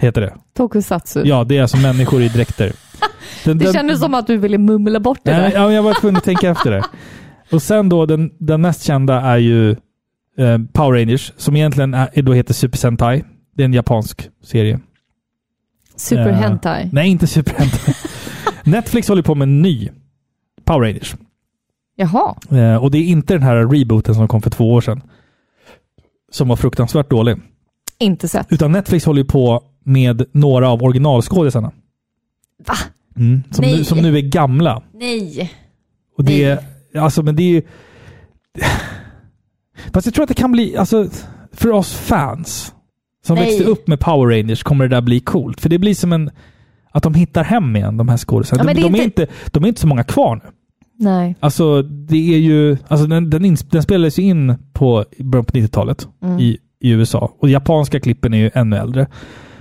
B: heter det.
A: Tokusatsu.
B: Ja, det är alltså människor i dräkter. Den,
A: Det
B: den-
A: kändes som att du ville mumla bort det
B: Nej,
A: där.
B: ja, men jag var tvungen att tänka efter det. Och sen då, den, den mest kända är ju eh, Power Rangers, som egentligen är, då heter Super Sentai. Det är en japansk serie.
A: Super
B: Eh,
A: Hentai.
B: Nej, inte Super Sentai. Netflix håller på med en ny Power Rangers.
A: Jaha.
B: Eh, och det är inte den här rebooten som kom för två år sedan. Som var fruktansvärt dålig.
A: Inte sett.
B: Utan Netflix håller ju på med några av originalskådisarna.
A: Va?
B: Mm, som,
A: Nej.
B: nu, som nu är gamla.
A: Nej.
B: Och det, alltså, men det är ju... Fast jag tror att det kan bli... Alltså, för oss fans som
A: Nej.
B: växte upp med Power Rangers kommer det där bli coolt. För det blir som en... Att de hittar hem igen, de här skådisarna.
A: Ja, men
B: de,
A: det är
B: de, är
A: inte-
B: inte, de är inte så många kvar nu.
A: Nej.
B: Alltså, det är ju... Alltså, den, den, ins- den spelades ju in på i början på 90-talet
A: Mm.
B: i, i USA. Och japanska klippen är ju ännu äldre.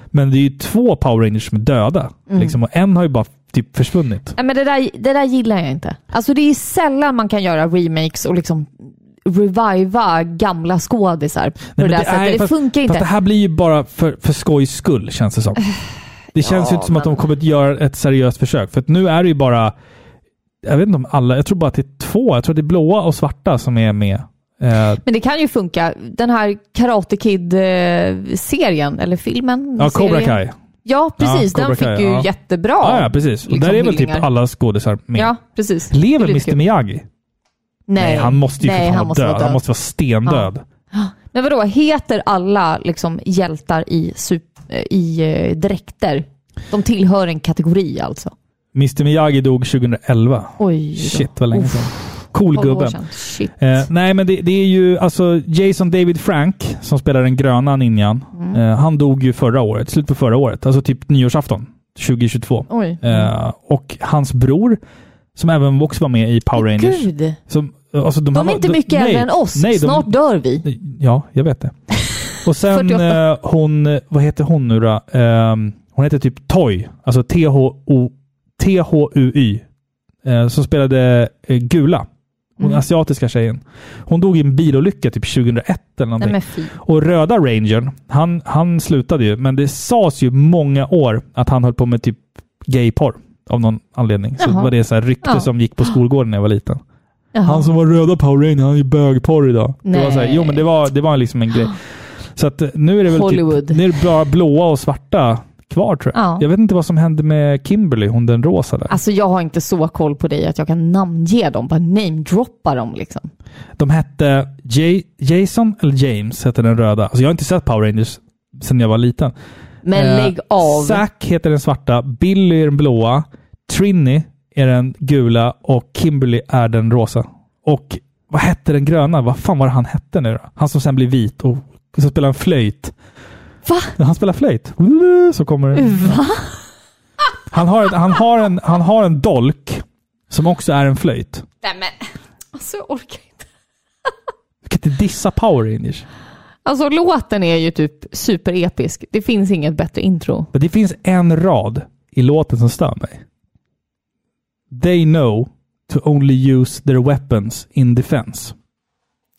B: Men det är ju två Power Rangers som är döda.
A: Mm.
B: Liksom, och en har ju bara typ försvunnit.
A: Nej men det där, det där gillar jag inte. Alltså det är sällan man kan göra remakes och liksom reviva gamla skådisar på
B: Nej, men
A: det där sättet.
B: nej,
A: det
B: fast-
A: funkar inte.
B: Fast det här blir ju bara för, för skojs skull, känns det som. Det känns ju inte som att de
A: men-
B: kommer att göra ett seriöst försök. För att nu är det ju bara... Jag vet inte om alla... Jag tror bara att det är två. Jag tror att det är blåa och svarta som är med. Eh,
A: Men det kan ju funka. Den här Karate Kid-serien, eller filmen?
B: ja, Cobra
A: serien.
B: Kai.
A: Ja, precis.
B: Ja, Cobra
A: den fick
B: Kai,
A: ju
B: ja.
A: jättebra
B: Ja, ja, precis. Och
A: liksom,
B: där är väl
A: hyllningar.
B: typ alla skådisar med.
A: Ja, precis.
B: Lever
A: Det är lite
B: Mr
A: kul.
B: Miyagi?
A: Nej,
B: Nej, han måste ju
A: Nej,
B: för fan
A: han
B: vara
A: måste
B: död.
A: vara
B: Han måste vara stendöd.
A: Men vadå, heter alla liksom hjältar i, sup- eh, i eh, dräkter? De tillhör en kategori alltså?
B: Mr Miyagi dog 2011.
A: Oj då.
B: Shit vad länge
A: Uff,
B: sedan. Cool
A: tolv år
B: gubben.
A: sedan. Shit.
B: Eh, nej, men det, det är ju alltså Jason David Frank som spelar den gröna ninjan.
A: Mm.
B: Eh, han dog ju förra året, slut på förra året, alltså typ nyårsafton 2022.
A: Oj.
B: Eh,
A: Mm.
B: och hans bror, som även också var med i Power Rangers.
A: Gud. De,
B: Som, alltså, de, här
A: är
B: var-
A: inte mycket
B: nej,
A: äldre än oss.
B: nej, de-
A: Snart dör vi.
B: Ja, jag vet det. Och sen
A: 48.
B: eh, hon, vad heter hon nu då? Ehm, hon heter typ Toy, alltså T-H-O- T-H-U-Y, eh, som spelade eh, Gula. Hon
A: Mm.
B: asiatiska tjejen. Hon dog i en bilolycka typ 2001 eller någonting.
A: Nej men fy.
B: Och röda rangern, han, han slutade ju, men det sades ju många år att han höll på med typ gayporr av någon anledning. Så
A: Jaha.
B: var det så här rykte
A: Ja.
B: som gick på skolgården när jag var liten.
A: Jaha.
B: Han som var röda Power Ranger, han är ju bögporr idag. Det var
A: Nej.
B: så här, jo, men det var, det var liksom en grej. Så att eh, nu är det väl
A: Hollywood.
B: Typ, nu är det bara blåa och svarta kvar tror jag.
A: Ja.
B: Jag vet inte vad som hände med Kimberly, hon den rosa där.
A: Alltså jag har inte så koll på dig att jag kan namnge dem, bara namedroppa dem liksom.
B: De hette J- Jason eller James, hette den röda. Alltså jag har inte sett Power Rangers sedan jag var liten.
A: Men
B: Eh,
A: lägg av.
B: Zack heter den svarta, Billy är den blåa, Trini är den gula och Kimberly är den rosa. Och vad hette den gröna? Vad fan var det han hette nu då? Han som sen blir vit och så spelar han flöjt.
A: Va?
B: Ja, Han spelar flöjt. Så kommer det.
A: Va?
B: Han har, ett, han, har en, han har en dolk som också är en flöjt.
A: Nej men, alltså jag orkar inte.
B: Du kan inte dissa Power Rangers.
A: Alltså låten är ju typ superepisk. Det finns inget bättre intro.
B: Men det finns en rad i låten som stör mig. They know to only use their weapons in defense.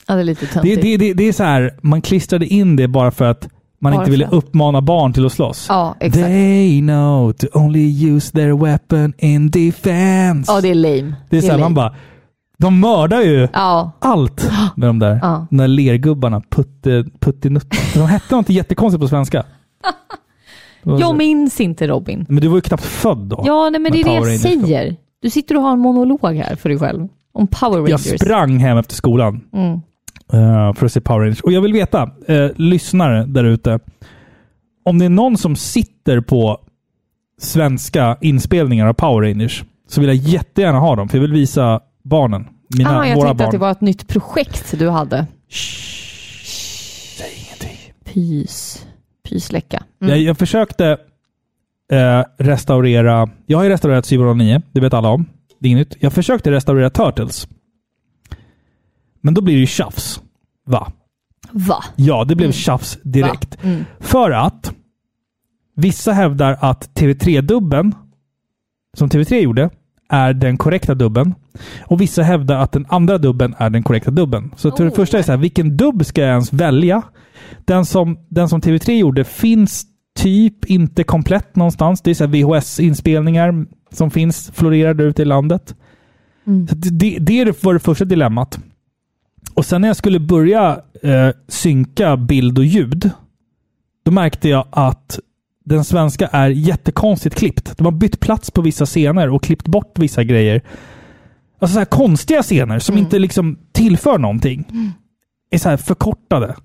A: Ja, det är lite
B: Det,
A: töntigt.
B: det, det, det är så här, man klistrade in det bara för att man
A: Bara
B: inte ville
A: för att.
B: uppmana barn till att slåss.
A: Ja, exakt.
B: They know to only use their weapon in defense.
A: Ja, det är lame.
B: det är så här,
A: lame.
B: man bara, de mördar ju
A: Ja,
B: allt med de där,
A: Ja.
B: de där lergubbarna, putte, puttinuttarna. De hette något jättekonstigt på svenska. Det var så-
A: jag minns inte Robin.
B: Men du var ju knappt född då.
A: Ja, nej, men
B: när
A: det är det
B: Power
A: jag
B: Rangers kom.
A: säger. Du sitter och har en monolog här för dig själv. Om Power
B: Jag
A: Rangers.
B: sprang hem efter skolan
A: Mm.
B: eh, för att se Power Rangers. Och jag vill veta, eh, lyssnare där ute, om det är någon som sitter på svenska inspelningar av Power Rangers så vill jag jättegärna ha dem, för jag vill visa barnen. Mina,
A: Ah, jag
B: våra
A: tänkte
B: barn.
A: att det var ett nytt projekt du hade.
B: Säg ingenting.
A: Pys. Pysläcka. Mm.
B: Jag, jag försökte eh, restaurera... Jag har ju restaurerat 709, det vet alla om. Det är inget nytt. Jag försökte restaurera Turtles. Men då blir det ju tjafs. Va?
A: Va?
B: Ja, det blev tjafs direkt. För att vissa hävdar att TV3-dubben, som TV3 gjorde, är den korrekta dubben. Och vissa hävdar att den andra dubben är den korrekta dubben. Så till det
A: Oh.
B: första är så här, vilken dubb ska jag ens välja? Den som, den som TV3 gjorde finns typ inte komplett någonstans. Det är så här VHS-inspelningar som finns, florerar där ute i landet. Så det- det, det är det- var det första dilemmat. Och sen när jag skulle börja eh, synka bild och ljud, då märkte jag att den svenska är jättekonstigt klippt. De har bytt plats på vissa scener och klippt bort vissa grejer. Alltså så här konstiga scener som
A: Mm.
B: inte liksom tillför någonting. Är så här förkortade.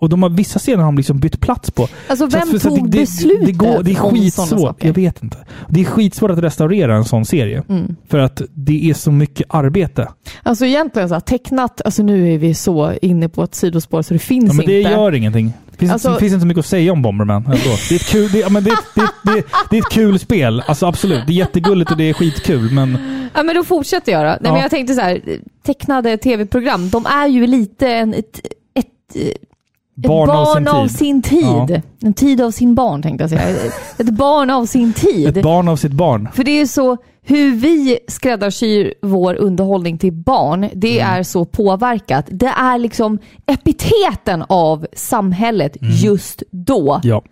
B: Och de har, vissa scener har de liksom bytt plats på.
A: Alltså
B: Så
A: vem
B: att- så att
A: tog
B: det,
A: beslutet
B: det, går, det är
A: om sådana
B: skitsvårt.
A: saker?
B: Jag vet inte. Det är skitsvårt att restaurera en sån serie.
A: Mm.
B: För att det är så mycket arbete.
A: Alltså egentligen så här, tecknat, alltså nu är vi så inne på ett sidospår så det finns
B: Ja, men det
A: inte.
B: gör ingenting. Det finns,
A: Alltså-
B: det finns inte så mycket att säga om Bomberman. Ändå. Det, är ett kul, det, ja, men det, det, det, det är ett kul spel. Alltså absolut. Det är jättegulligt och det är skitkul. Men
A: Ja, men då fortsätter jag då. Nej,
B: Ja.
A: men jag tänkte så här, tecknade tv-program, de är ju lite en, ett, ett, ett
B: barn, av sin
A: av
B: tid.
A: sin tid. En tid av sin barn tänkte jag säga. Ett- ett barn av sin tid.
B: Ett barn av sitt barn.
A: För det är ju så, hur vi skräddarsyr vår underhållning till barn, det
B: Mm.
A: är så påverkat. Det är liksom epiteten av samhället
B: Mm.
A: just då.
B: Ja.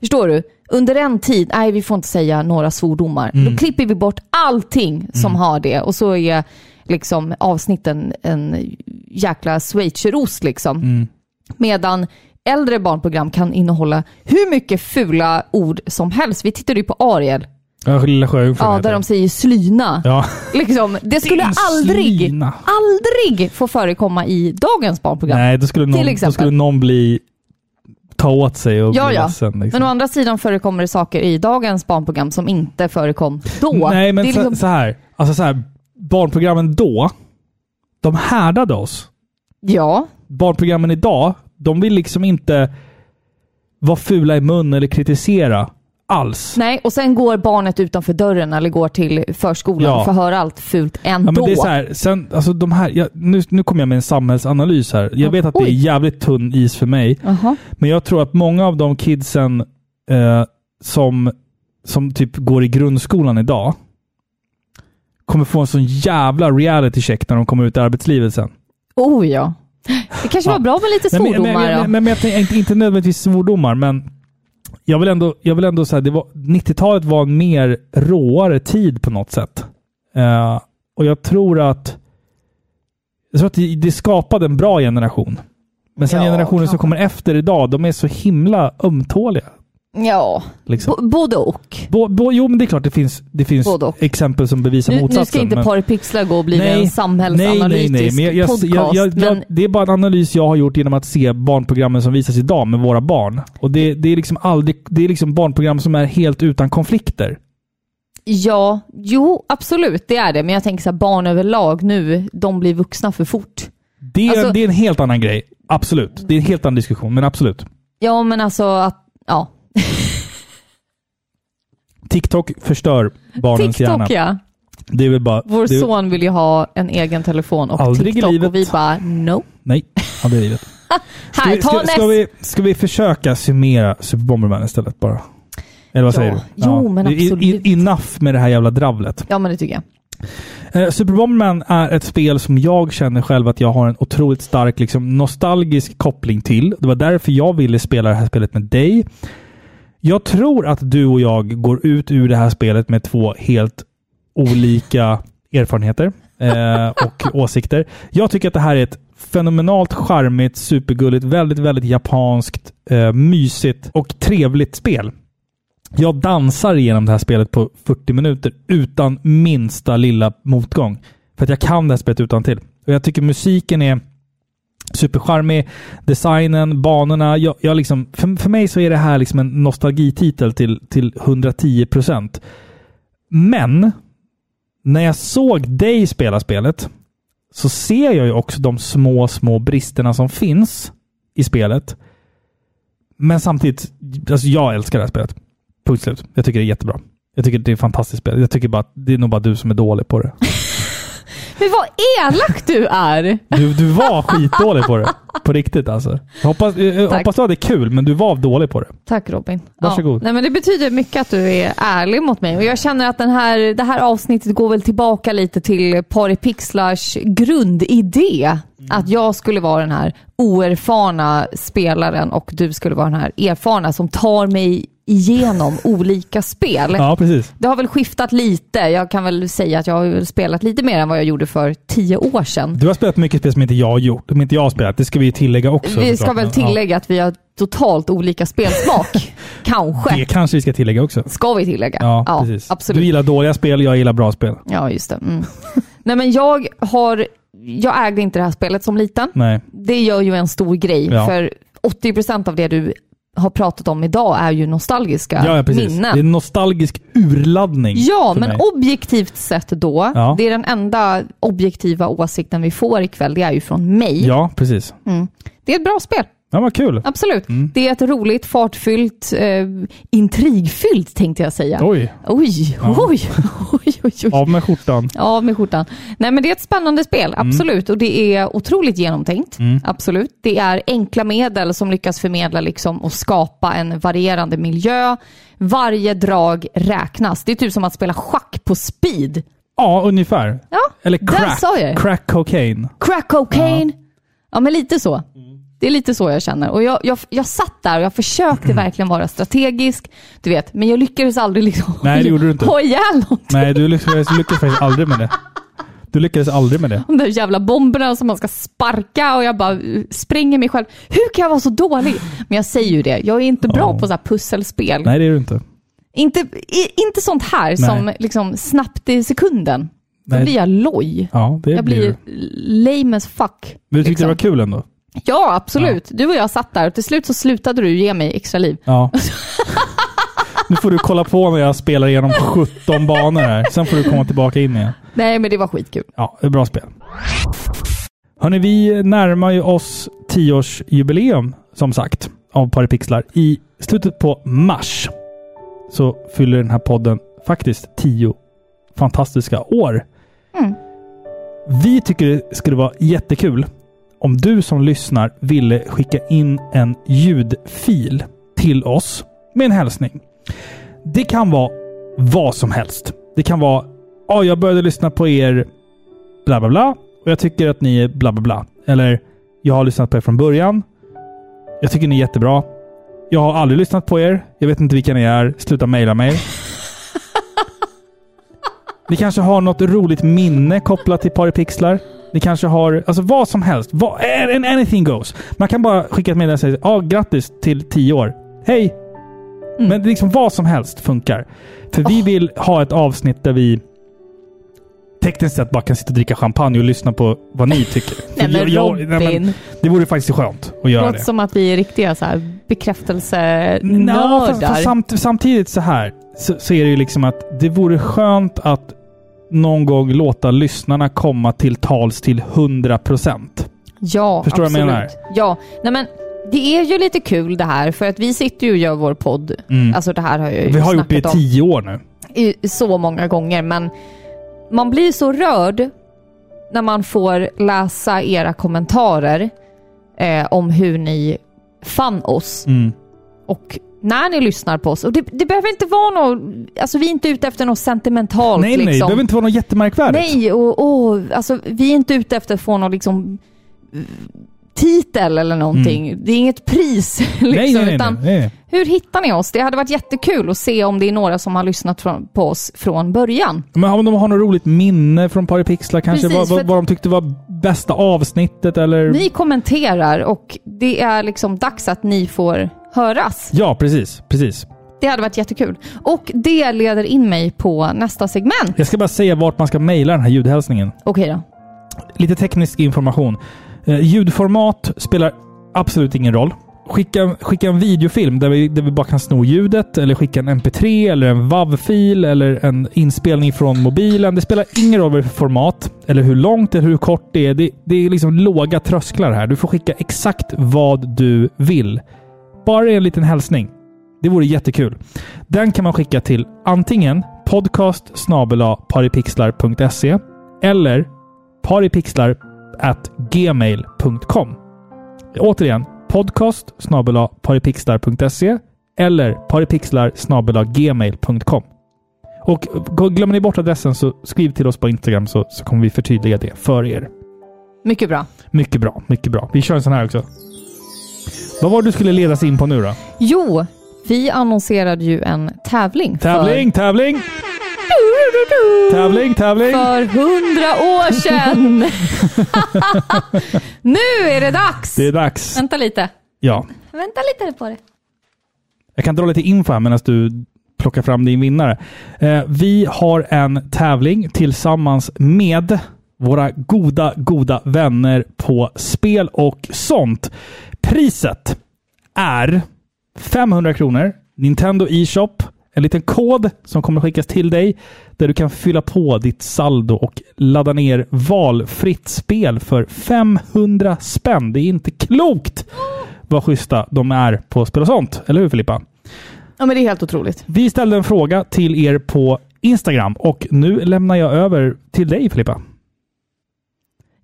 A: Förstår du? Under en tid, nej vi får inte säga några svordomar.
B: Mm.
A: Då klipper vi bort allting som har det och så är liksom avsnitten en jäkla schweizerost liksom.
B: Mm.
A: Medan äldre barnprogram kan innehålla hur mycket fula ord som helst. Vi tittade ju på Ariel,
B: Ja, Lilla Sjöjungfrun
A: ja,
B: heter
A: där de
B: det.
A: säger slyna.
B: Ja.
A: Liksom, det skulle
B: Din
A: aldrig,
B: slyna.
A: aldrig få förekomma i dagens barnprogram.
B: Nej, då skulle, någon, då
A: exempel.
B: skulle någon bli... Ta åt sig och
A: Ja,
B: bli
A: ja.
B: ledsen. Liksom.
A: Men å andra sidan förekommer det saker i dagens barnprogram som inte förekom då.
B: Nej, men
A: det är
B: så,
A: liksom,
B: så här. Alltså så här. Barnprogrammen då, de härdade oss.
A: ja,
B: barnprogrammen idag, de vill liksom inte vara fula i mun eller kritisera alls.
A: nej. Och sen går barnet utanför dörren eller går till förskolan
B: Ja.
A: och får höra allt fult
B: Ja, men
A: ändå.
B: det är så här, sen, alltså de här, jag, nu, nu kommer jag med en samhällsanalys här. Jag vet att det är
A: Oj.
B: jävligt tunn is för mig,
A: Jaha.
B: men jag tror att många av de kidsen eh, som, som typ går i grundskolan idag kommer få en sån jävla reality check när de kommer ut i arbetslivet sen.
A: Oh ja. Det kanske var
B: Ja.
A: bra med lite
B: Nej, men-
A: svordomar.
B: Men,
A: då.
B: men, men, men jag tänker inte, inte nödvändigtvis svordomar, men jag vill ändå, jag vill ändå säga det var 90-talet var en mer råare tid på något sätt. Eh, och jag tror att jag tror att det, det skapade en bra generation. Men sen
A: Ja,
B: generationen som
A: kanske.
B: kommer efter idag, de är så himla ömtåliga.
A: Ja,
B: Liksom.
A: B- både och.
B: Bo, bo, jo, men det är klart det finns, det finns
A: Både och.
B: exempel som bevisar
A: Nu,
B: motsatsen.
A: nu ska inte
B: men-
A: Par Pixlar gå och bli en samhällsanalytisk
B: Men jag, jag,
A: podcast.
B: jag, jag, jag,
A: men
B: det är bara en analys jag har gjort genom att se barnprogrammen som visas idag med våra barn. Och det, det, är, liksom aldrig, det är liksom barnprogram som är helt utan konflikter.
A: ja, jo absolut det är det. Men jag tänker så här, barn överlag nu, de blir vuxna för fort.
B: Det, är-
A: Alltså-
B: det är en helt annan grej. Absolut. Det är en helt annan diskussion, men absolut.
A: Ja men alltså att, ja.
B: TikTok förstör barnens hjärna.
A: TikTok ja.
B: Det är väl bara...
A: Vår
B: det, är-
A: son vill ju ha en egen telefon och
B: Aldrig i
A: TikTok
B: livet.
A: och vi bara no.
B: Nej, aldrig i livet. Ska,
A: Här,
B: vi-
A: ta
B: ska,
A: nästa.
B: ska, vi, ska vi försöka summera Super Bomberman istället bara? Eller vad
A: Ja.
B: säger du?
A: Jo, men
B: Det är- i-
A: absolut.
B: Enough med det här jävla dravlet.
A: Ja men det tycker jag.
B: Eh, Super Bomberman är ett spel som jag känner själv att jag har en otroligt stark liksom, nostalgisk koppling till. Det var därför jag ville spela det här spelet med dig. Jag tror att du och jag går ut ur det här spelet med två helt olika erfarenheter eh, och åsikter. Jag tycker att det här är ett fenomenalt charmigt, supergulligt, väldigt, väldigt japanskt, eh, mysigt och trevligt spel. Jag dansar igenom det här spelet på 40 minuter utan minsta lilla motgång. För att jag kan det här spelet utan till. Och jag tycker musiken är Supercharmig, designen, banorna. Jag, jag liksom, för, för mig så är det här liksom en nostalgititel till, till 110 procent. Men när jag såg dig spela spelet så ser jag ju också de små, små bristerna som finns i spelet. Men samtidigt, alltså jag älskar det här spelet. Punkt slut. Jag tycker det är jättebra. Jag tycker det är ett fantastiskt spel. Jag tycker bara att det är nog bara du som är dålig på det.
A: Men vad elak du är!
B: Du, du var skitdålig på det. På riktigt alltså. Jag hoppas, jag, jag
A: Tack.
B: hoppas du hade kul, men du var dålig på det.
A: Tack Robin.
B: Varsågod.
A: Ja. Nej, men det betyder mycket att du är ärlig mot mig och jag känner att den här, det här avsnittet går väl tillbaka lite till Paripixlars grundidé.
B: Mm.
A: Att jag skulle vara den här oerfarna spelaren och du skulle vara den här erfarna som tar mig igenom olika spel.
B: Ja, precis.
A: Det har väl skiftat lite. Jag kan väl säga att jag har väl spelat lite mer än vad jag gjorde för tio år sedan.
B: Du har spelat mycket spel som inte jag har gjort, som inte jag har spelat. Det ska vi ju tillägga också.
A: Vi ska
B: såklart.
A: väl tillägga att vi har totalt olika spelsmak.
B: Ja,
A: Kanske.
B: det kanske vi ska tillägga också.
A: Ska vi tillägga.
B: Ja, precis.
A: absolut.
B: Du gillar dåliga spel, jag gillar bra spel.
A: Ja, just det. Mm. Nej, men jag, har, jag ägde inte det här spelet som liten.
B: Nej.
A: Det gör ju en stor grej,
B: Ja.
A: för 80% av det du har pratat om idag är ju nostalgiska
B: Ja, ja precis.
A: minnen.
B: Det är en nostalgisk urladdning.
A: Ja,
B: för
A: men
B: mig.
A: objektivt sett då,
B: Ja.
A: det är den enda objektiva åsikten vi får ikväll, det är ju från mig.
B: Ja, precis.
A: Mm. Det är ett bra spel,
B: Ja, vad kul.
A: absolut.
B: Mm.
A: Det är ett roligt, fartfyllt, eh, intrigfyllt tänkte jag säga.
B: Oj,
A: Oj, oj, oj, oj, oj.
B: av med skjortan.
A: Av med skjortan. Nej men det är ett spännande spel,
B: Mm.
A: absolut. Och det är otroligt genomtänkt, absolut. Det är enkla medel som lyckas förmedla liksom och skapa en varierande miljö. Varje drag räknas. Det är typ som att spela schack på speed.
B: Ja, ungefär.
A: Ja,
B: Eller
A: där
B: crack.
A: sa jag det.
B: Crack cocaine.
A: Crack cocaine. Ja, men lite så. Det är lite så jag känner. Och jag, jag, jag satt där och jag försökte verkligen vara strategisk, du vet. Men jag lyckades aldrig liksom
B: Nej, det gjorde du inte.
A: ha ihjäl någon.
B: Nej, du lyckades, lyckades faktiskt aldrig med det. Du lyckades aldrig med det.
A: de där jävla bomberna som man ska sparka och jag bara uh, spränger mig själv. Hur kan jag vara så dålig? Men jag säger ju det, jag är inte bra
B: Ja.
A: på så här pusselspel.
B: Nej, det är du inte.
A: Inte, i, inte sånt här som liksom snabbt i sekunden. Då
B: Nej.
A: blir jag loj.
B: Ja, det
A: Jag
B: blir du.
A: blir lame as fuck.
B: Men du tyckte
A: liksom.
B: det var kul ändå?
A: Ja, absolut. Du och jag satt där och till slut så slutade du ge mig extra liv.
B: Ja. nu får du kolla på när jag spelar igenom 17 banor här. Sen får du komma tillbaka in igen.
A: Nej, men det var skitkul.
B: Ja, det är bra spel. Hörni, vi närmar ju oss 10-årsjubileum, som sagt, av Paripixlar. I slutet på mars så fyller den här podden faktiskt 10 fantastiska år.
A: Mm.
B: Vi tycker det skulle vara jättekul om du som lyssnar ville skicka in en ljudfil till oss med en hälsning. Det kan vara vad som helst. Det kan vara ja, jag började lyssna på er bla bla bla och jag tycker att ni är bla bla bla. Eller jag har lyssnat på er från början. Jag tycker ni är jättebra. Jag har aldrig lyssnat på er. Jag vet inte vilka ni är. Sluta mejla mig. Ni kanske har något roligt minne kopplat till Paripixlar. Ni kanske har, alltså vad som helst. Vad, and anything goes. Man kan bara skicka ett meddelande och säga ja, ah, grattis till 10 år. Hej!
A: Mm.
B: Men liksom vad som helst funkar. För vi vill ha ett avsnitt där vi tekniskt sett bara kan sitta och dricka champagne och lyssna på vad ni tycker.
A: Nej,
B: För
A: men Robin.
B: det vore faktiskt skönt att
A: Det
B: göra det.
A: låter som att vi är riktiga så här
B: Nå, Mm, fast, fast
A: bekräftelsenördar.
B: samt, samtidigt så här så, så är det ju liksom att det vore skönt att någon gång låta lyssnarna komma till tals till 100 procent.
A: Ja,
B: Förstår
A: absolut.
B: vad jag menar?
A: Ja, nej men det är ju lite kul det här för att vi sitter ju och gör vår podd. Alltså det här har jag ju
B: Mm. Vi har gjort det i
A: snackat om
B: tio år nu.
A: i så många gånger men man blir så rörd när man får läsa era kommentarer eh, om hur ni fann oss
B: Mm.
A: och när ni lyssnar på oss. Och det, det behöver inte vara något, alltså vi är inte ute efter något sentimentalt
B: Nej, nej, det
A: liksom.
B: behöver inte vara något jättemärkvärdigt.
A: Nej, och, och alltså, vi är inte ute efter att få någon liksom, eh, titel eller någonting. Det är inget pris. Liksom,
B: Mm. nej, nej, nej,
A: utan
B: nej, nej.
A: Hur hittar ni oss? Det hade varit jättekul att se om det är några som har lyssnat från, på oss från början.
B: Men om de har något roligt minne från Paripixlar kanske,
A: Precis,
B: vad,
A: för
B: vad,
A: att-
B: vad de tyckte var bästa avsnittet eller...
A: Ni kommenterar och det är liksom dags att ni får höras.
B: Ja, precis, precis.
A: Det hade varit jättekul. Och det leder in mig på nästa segment.
B: Jag ska bara säga vart man ska mejla den här ljudhälsningen.
A: Okej då.
B: lite teknisk information. Eh, ljudformat spelar absolut ingen roll. Skicka, skicka en videofilm där vi, där vi bara kan sno ljudet, eller skicka en mp3, eller en WAV-fil, eller en inspelning från mobilen. Det spelar ingen roll vad det är för format, eller hur långt eller hur kort det är. Det, det är liksom låga trösklar här. Du får skicka exakt vad du vill. Bara en liten hälsning. Det vore jättekul. Den kan man skicka till antingen podcast paripixlar.se eller paripixlar at gmail.com. Återigen, podcast paripixlar.se eller paripixlar gmail.com. Och glömmer ni bort adressen så skriv till oss på Instagram så, så kommer vi förtydliga det för er.
A: Mycket bra.
B: Mycket bra, mycket bra. Vi kör en sån här också. Vad var det du skulle ledas in på nu då?
A: Jo, vi annonserade ju en tävling.
B: Tävling, tävling,
A: För...
B: tävling, tävling!
A: För hundra år sedan! nu är det dags!
B: Det är dags.
A: Vänta lite.
B: Ja.
A: Vänta lite på det.
B: Jag kan dra lite info här medan du plockar fram din vinnare. Eh, vi har en tävling tillsammans med våra goda, goda vänner på spel och sånt. Priset är 500 kronor, Nintendo e-shop, en liten kod som kommer skickas till dig där du kan fylla på ditt saldo och ladda ner valfritt spel för 500 spänn. Det är inte klokt vad schyssta de är på spel och sånt. Eller hur Filippa?
A: Ja, men det är helt otroligt.
B: Vi ställde en fråga till er på Instagram och nu lämnar jag över till dig Filippa.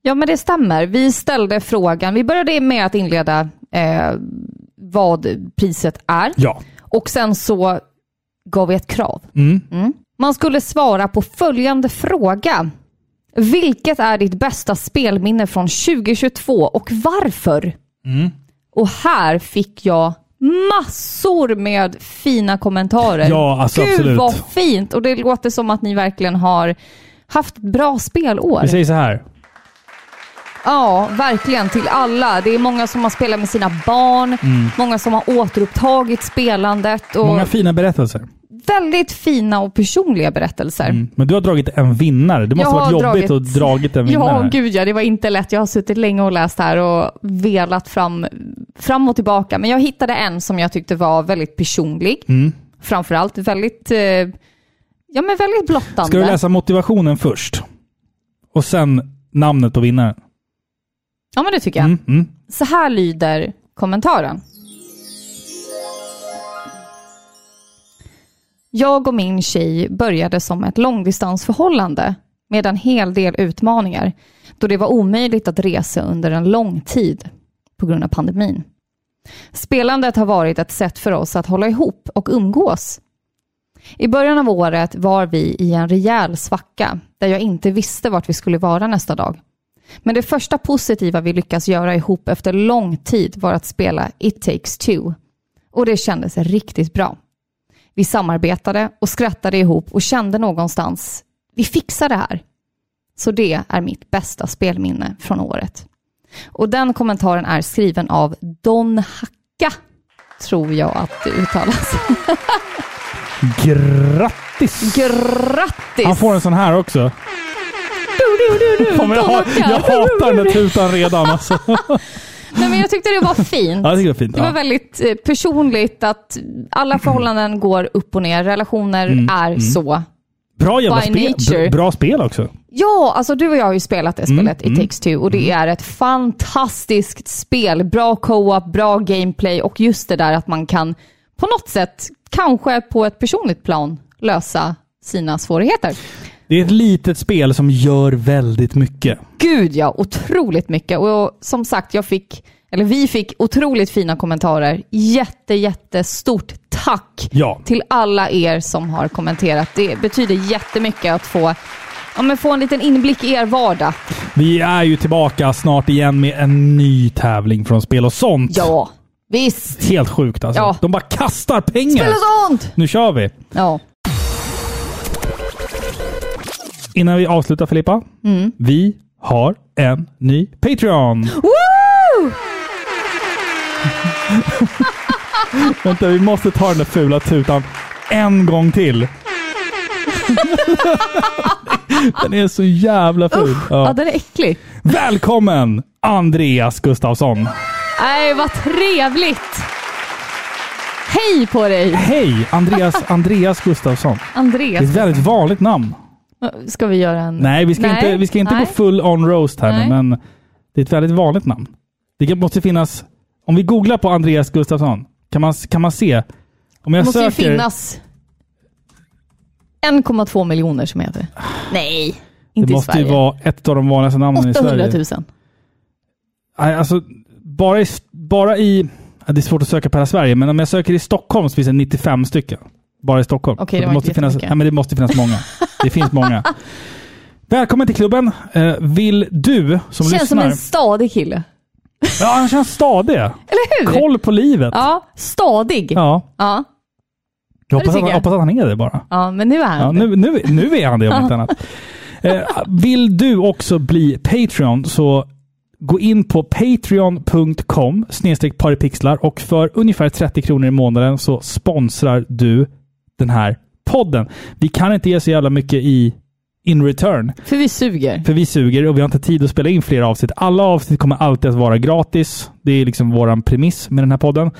A: Ja, men det stämmer. Vi ställde frågan. Vi började med att inleda eh, vad priset är
B: Ja.
A: och sen så gav vi ett krav.
B: Mm.
A: Man skulle svara på följande fråga. Vilket är ditt bästa spelminne från 2022 och varför?
B: Mm.
A: Och här fick jag massor med fina kommentarer.
B: Ja, alltså
A: Gud
B: absolut.
A: vad fint! Och det låter som att ni verkligen har haft bra spelår.
B: Vi säger så här.
A: Ja, verkligen till alla. Det är många som har spelat med sina barn, många som har återupptagit spelandet och
B: Många fina berättelser.
A: väldigt fina och personliga berättelser.
B: Men du har dragit en vinnare. Det måste
A: Jag
B: ha varit
A: har
B: jobbigt att
A: dragit-
B: dragit en vinnare.
A: Ja, gud ja, det var inte lätt. Jag har suttit länge och läst här och velat fram, fram och tillbaka. Men jag hittade en som jag tyckte var väldigt personlig. Framförallt väldigt, eh, ja, men väldigt blottande.
B: Ska du läsa motivationen först? Och sen namnet på vinnaren?
A: Ja, men det tycker jag.
B: Mm, mm.
A: Så här lyder kommentaren. Jag och min tjej började som ett långdistansförhållande med en hel del utmaningar då det var omöjligt att resa under en lång tid på grund av pandemin. Spelandet har varit ett sätt för oss att hålla ihop och umgås. I början av året var vi i en rejäl svacka där jag inte visste vart vi skulle vara nästa dag. Men det första positiva vi lyckas göra ihop efter lång tid var att spela It takes two. Och det kändes riktigt bra. Vi samarbetade och skrattade ihop och kände någonstans, vi fixar det här. Så det är mitt bästa spelminne från året. Och den kommentaren är skriven av Don Hacka, tror jag att det uttalas.
B: Grattis!
A: Grattis!
B: Han får en sån här också.
A: Du, du, du,
B: Fan, men jag,
A: Don
B: ha-
A: Hacka.
B: jag hatar den där tutan redan alltså.
A: Nej, men jag tyckte det var fint.
B: Ja, jag tycker det är fint.
A: Det var
B: Ja. Mm.
A: väldigt eh, personligt att alla förhållanden går upp och ner. Relationer är så.
B: Bra jävla
A: by
B: spel.
A: nature.
B: Br- Bra spel också.
A: Ja, alltså du och jag har ju spelat
B: Mm.
A: det spelet, It takes two, och det är ett fantastiskt spel. Bra co-op, bra gameplay och just det där att man kan på något sätt, kanske på ett personligt plan, lösa sina svårigheter.
B: Det är ett litet spel som gör väldigt mycket.
A: Gud ja, otroligt mycket. Och som sagt, jag fick, eller vi fick otroligt fina kommentarer. Jätte, jättestort tack
B: Ja.
A: till alla er som har kommenterat. Det betyder jättemycket att få, ja, men få en liten inblick i er vardag.
B: Vi är ju tillbaka snart igen med en ny tävling från Spel och sånt.
A: Ja, visst.
B: Helt sjukt alltså.
A: Ja.
B: De bara kastar pengar.
A: Spela sånt!
B: Nu kör vi!
A: Ja.
B: Innan vi avslutar Filippa.
A: Mm.
B: Vi har en ny Patreon.
A: Woo!
B: Vänta, vi måste ta den där fula tutan en gång till. Den är så jävla ful.
A: Ja,
B: Ja.
A: den är äcklig.
B: Välkommen Andreas Gustafsson!
A: Nej, vad trevligt! Hej på dig,
B: Hej! Andreas, Andreas Gustafsson. Det är
A: Andreas.
B: ett väldigt vanligt namn.
A: Ska vi göra en...
B: Nej, vi ska inte, vi ska inte
A: nej.
B: gå full on roast här
A: Nej.
B: nu, men det är ett väldigt vanligt namn. Det kan- måste finnas... Om vi googlar på Andreas Gustafsson, kan man, kan man se? Om jag
A: Det måste ju
B: söker...
A: finnas 1,2 miljoner som heter det. Nej,
B: det
A: inte i
B: måste
A: Sverige.
B: ju vara ett av de vanligaste namnen i
A: 800
B: Sverige.
A: 000.
B: Nej, alltså, bara i, bara i... ja, Det är svårt att söka på hela Sverige, men om jag söker i Stockholm så finns det 95 stycken. Bara i Stockholm.
A: Okej,
B: Så
A: det var inte
B: måste finnas,
A: jättemycket.
B: nej, men Det måste finnas många. Det finns många. Välkommen till klubben. Eh, vill du som
A: Känns som
B: lyssnar...
A: en stadig kille.
B: Ja, han känns stadig.
A: Eller hur?
B: Koll på livet.
A: Ja, stadig. Ja.
B: Ja.
A: Ja.
B: Jag hoppas,
A: tycker
B: att, jag
A: jag.
B: hoppas att han är det bara.
A: men nu är han
B: Ja,
A: det.
B: nu, nu, nu är han det om inte annat. Eh, vill du också bli Patreon så gå in på patreon.com snedstreck paripixlar och för ungefär 30 kronor i månaden så sponsrar du den här podden. Vi kan inte ge så jävla mycket i in return.
A: För vi suger.
B: För vi suger och vi har inte tid att spela in fler avsnitt. Alla avsnitt kommer alltid att vara gratis. Det är liksom våran premiss med den här podden.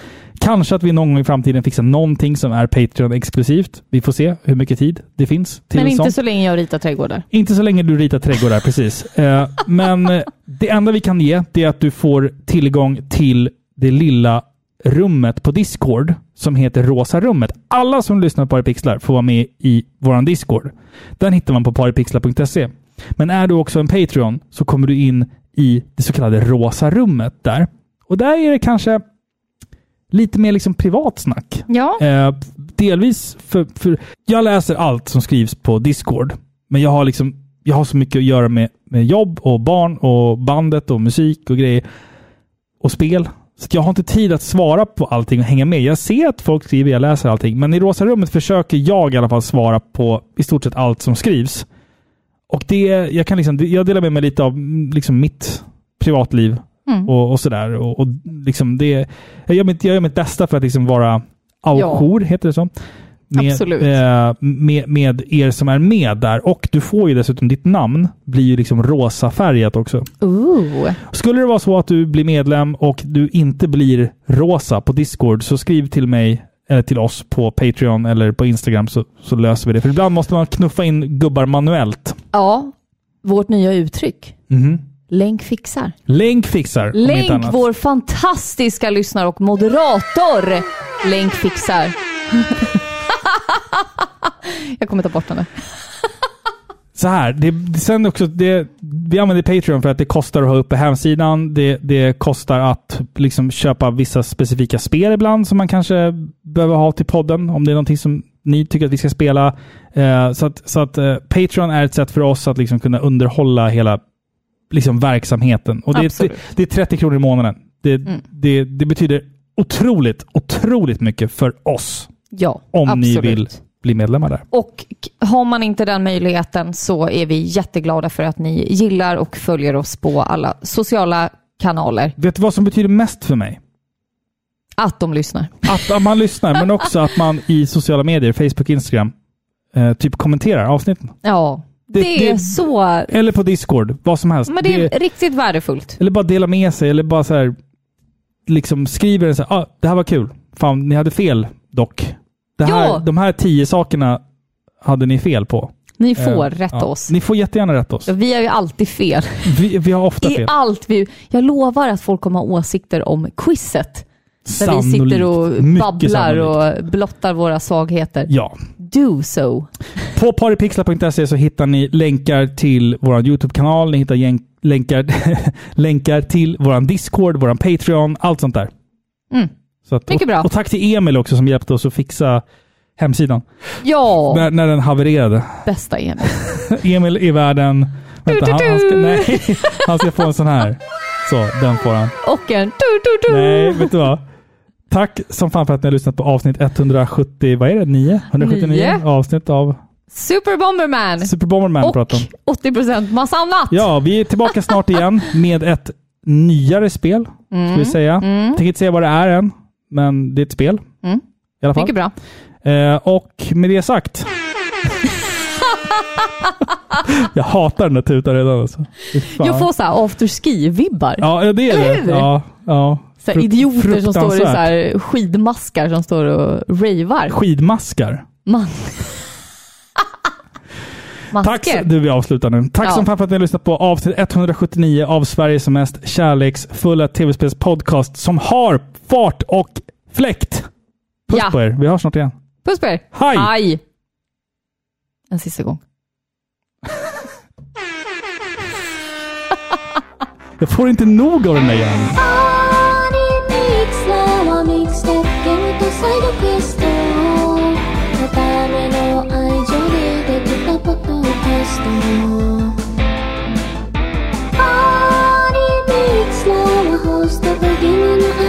B: Kanske att vi någon gång i framtiden fixar någonting som är Patreon-exklusivt. Vi får se hur mycket tid det finns till
A: Men inte
B: sånt.
A: så länge jag ritar trädgårdar.
B: Inte så länge du ritar trädgårdar, precis. Eh, Men eh, det enda vi kan ge det är att du får tillgång till det lilla rummet på Discord som heter Rosa rummet. Alla som lyssnar på Paripixlar får vara med i vår Discord. Den hittar man på paripixlar.se. Men är du också en Patreon så kommer du in i det så kallade Rosa rummet där. Och där är det kanske lite mer liksom privat snack.
A: Ja,
B: Eh, delvis för, för... Jag läser allt som skrivs på Discord. Men jag har, liksom, jag har så mycket att göra med, med jobb och barn och bandet och musik och grejer. Och spel. Så att jag har inte tid att svara på allting och hänga med. Jag ser att folk skriver, jag läser allting. Men i Rosa rummet försöker jag i alla fall svara på i stort sett allt som skrivs. Och det, jag, kan liksom, jag delar med mig lite av mm, liksom mitt privatliv
A: Mm.
B: och, och sådär. Och, och liksom det, jag, gör mitt, jag gör mitt bästa för att liksom vara au
A: Ja.
B: jour, heter det så? Med,
A: Absolut.
B: eh, med, med er som är med där. Och du får ju dessutom, ditt namn blir ju liksom rosa färgat också.
A: Ooh.
B: Skulle det vara så att du blir medlem och du inte blir rosa på Discord så skriv till mig eller till oss på Patreon eller på Instagram så, så löser vi det. För ibland måste man knuffa in gubbar manuellt.
A: Ja, vårt nya uttryck.
B: Mhm.
A: Länk fixar.
B: Länk fixar. om inte
A: Länk,
B: annat.
A: vår fantastiska lyssnare och moderator. Länk fixar. jag kommer ta bort den där.
B: så här, det, sen också, det, vi använder Patreon för att det kostar att ha uppe hemsidan. Det, det kostar att liksom köpa vissa specifika spel ibland som man kanske behöver ha till podden. Om det är någonting som ni tycker att vi ska spela. Eh, så att, så att eh, Patreon är ett sätt för oss att liksom kunna underhålla hela liksom, verksamheten. Och det, är-
A: Absolut.
B: det, det är 30 kronor i månaden. Det,
A: Mm.
B: det, det betyder otroligt, otroligt mycket för oss
A: Ja,
B: om
A: absolut.
B: ni vill bli medlemmar där.
A: Och k- har man inte den möjligheten så är vi jätteglada för att ni gillar och följer oss på alla sociala kanaler.
B: Vet du vad som betyder mest för mig?
A: Att de lyssnar.
B: Att att man lyssnar, men också att man i sociala medier, Facebook, Instagram, eh, typ kommenterar avsnitten.
A: Ja, det,
B: Det- det-
A: är så...
B: Eller på Discord, vad som helst.
A: Men det är riktigt värdefullt.
B: Eller bara dela med sig, eller bara så här, liksom skriver så här, ah, det här var kul. Fan, ni hade fel dock. Det här,
A: Ja.
B: De här tio sakerna hade ni fel på.
A: Ni får
B: Eh,
A: rätta
B: ja.
A: oss.
B: Ni får jättegärna rätta oss.
A: Vi har ju alltid fel.
B: Vi, vi har ofta
A: I
B: fel.
A: allt vi... Jag lovar att folk kommer ha åsikter om quizet. Där vi sitter och
B: Mycket
A: babblar
B: sannolikt.
A: och blottar våra svagheter.
B: Ja.
A: Do so.
B: På paripixlar.se E så hittar ni länkar till vår YouTube-kanal, ni hittar gäng- länkar, länkar till vår Discord, vår Patreon, allt sånt där.
A: Mm.
B: Så att,
A: Mycket
B: och,
A: bra.
B: Och tack till Emil också som hjälpte oss att fixa hemsidan
A: Ja,
B: när, när den havererade.
A: bästa Emil.
B: Emil är världen... Vänta, han, han, ska, nej, han ska få en sån här. Så, den får han.
A: Och en... Du, du, du.
B: Nej, vet du vad? Tack som fan för att ni har lyssnat på avsnitt 170, vad är det? 9? 179
A: Nio.
B: avsnitt av
A: Super Bomberman.
B: Super Bomberman
A: och
B: pratar om.
A: 80% massa annat.
B: Ja, vi är tillbaka snart igen med ett nyare spel.
A: Mm.
B: Ska vi säga. Tänker inte säga vad det är än, men det är ett spel.
A: Mm.
B: I alla fall.
A: Mycket bra.
B: Eh, och med det sagt. Jag hatar den där tutan redan alltså. Fy fan.
A: Jag får så här afterski-vibbar.
B: Ja, ja, det
A: Eller
B: är
A: hur?
B: det. Ja, ja.
A: Så här
B: Frukt-
A: idioter som står i så
B: fruktansvärt.
A: här skidmaskar som står och ravar.
B: Skidmaskar.
A: Man.
B: Tack,
A: Masker.
B: du, vi avslutar nu. Tack
A: Ja.
B: som fan för att ni har lyssnat på avsnitt 179 av Sveriges mest kärleksfulla tv-spelspodcast som har fart och fläkt. Puss
A: Ja.
B: på er. Vi hörs snart igen.
A: Puss på er.
B: Hej.
A: Hej. En sista gång.
B: Jag får inte nog av den där jäveln.
I: Host of the game on the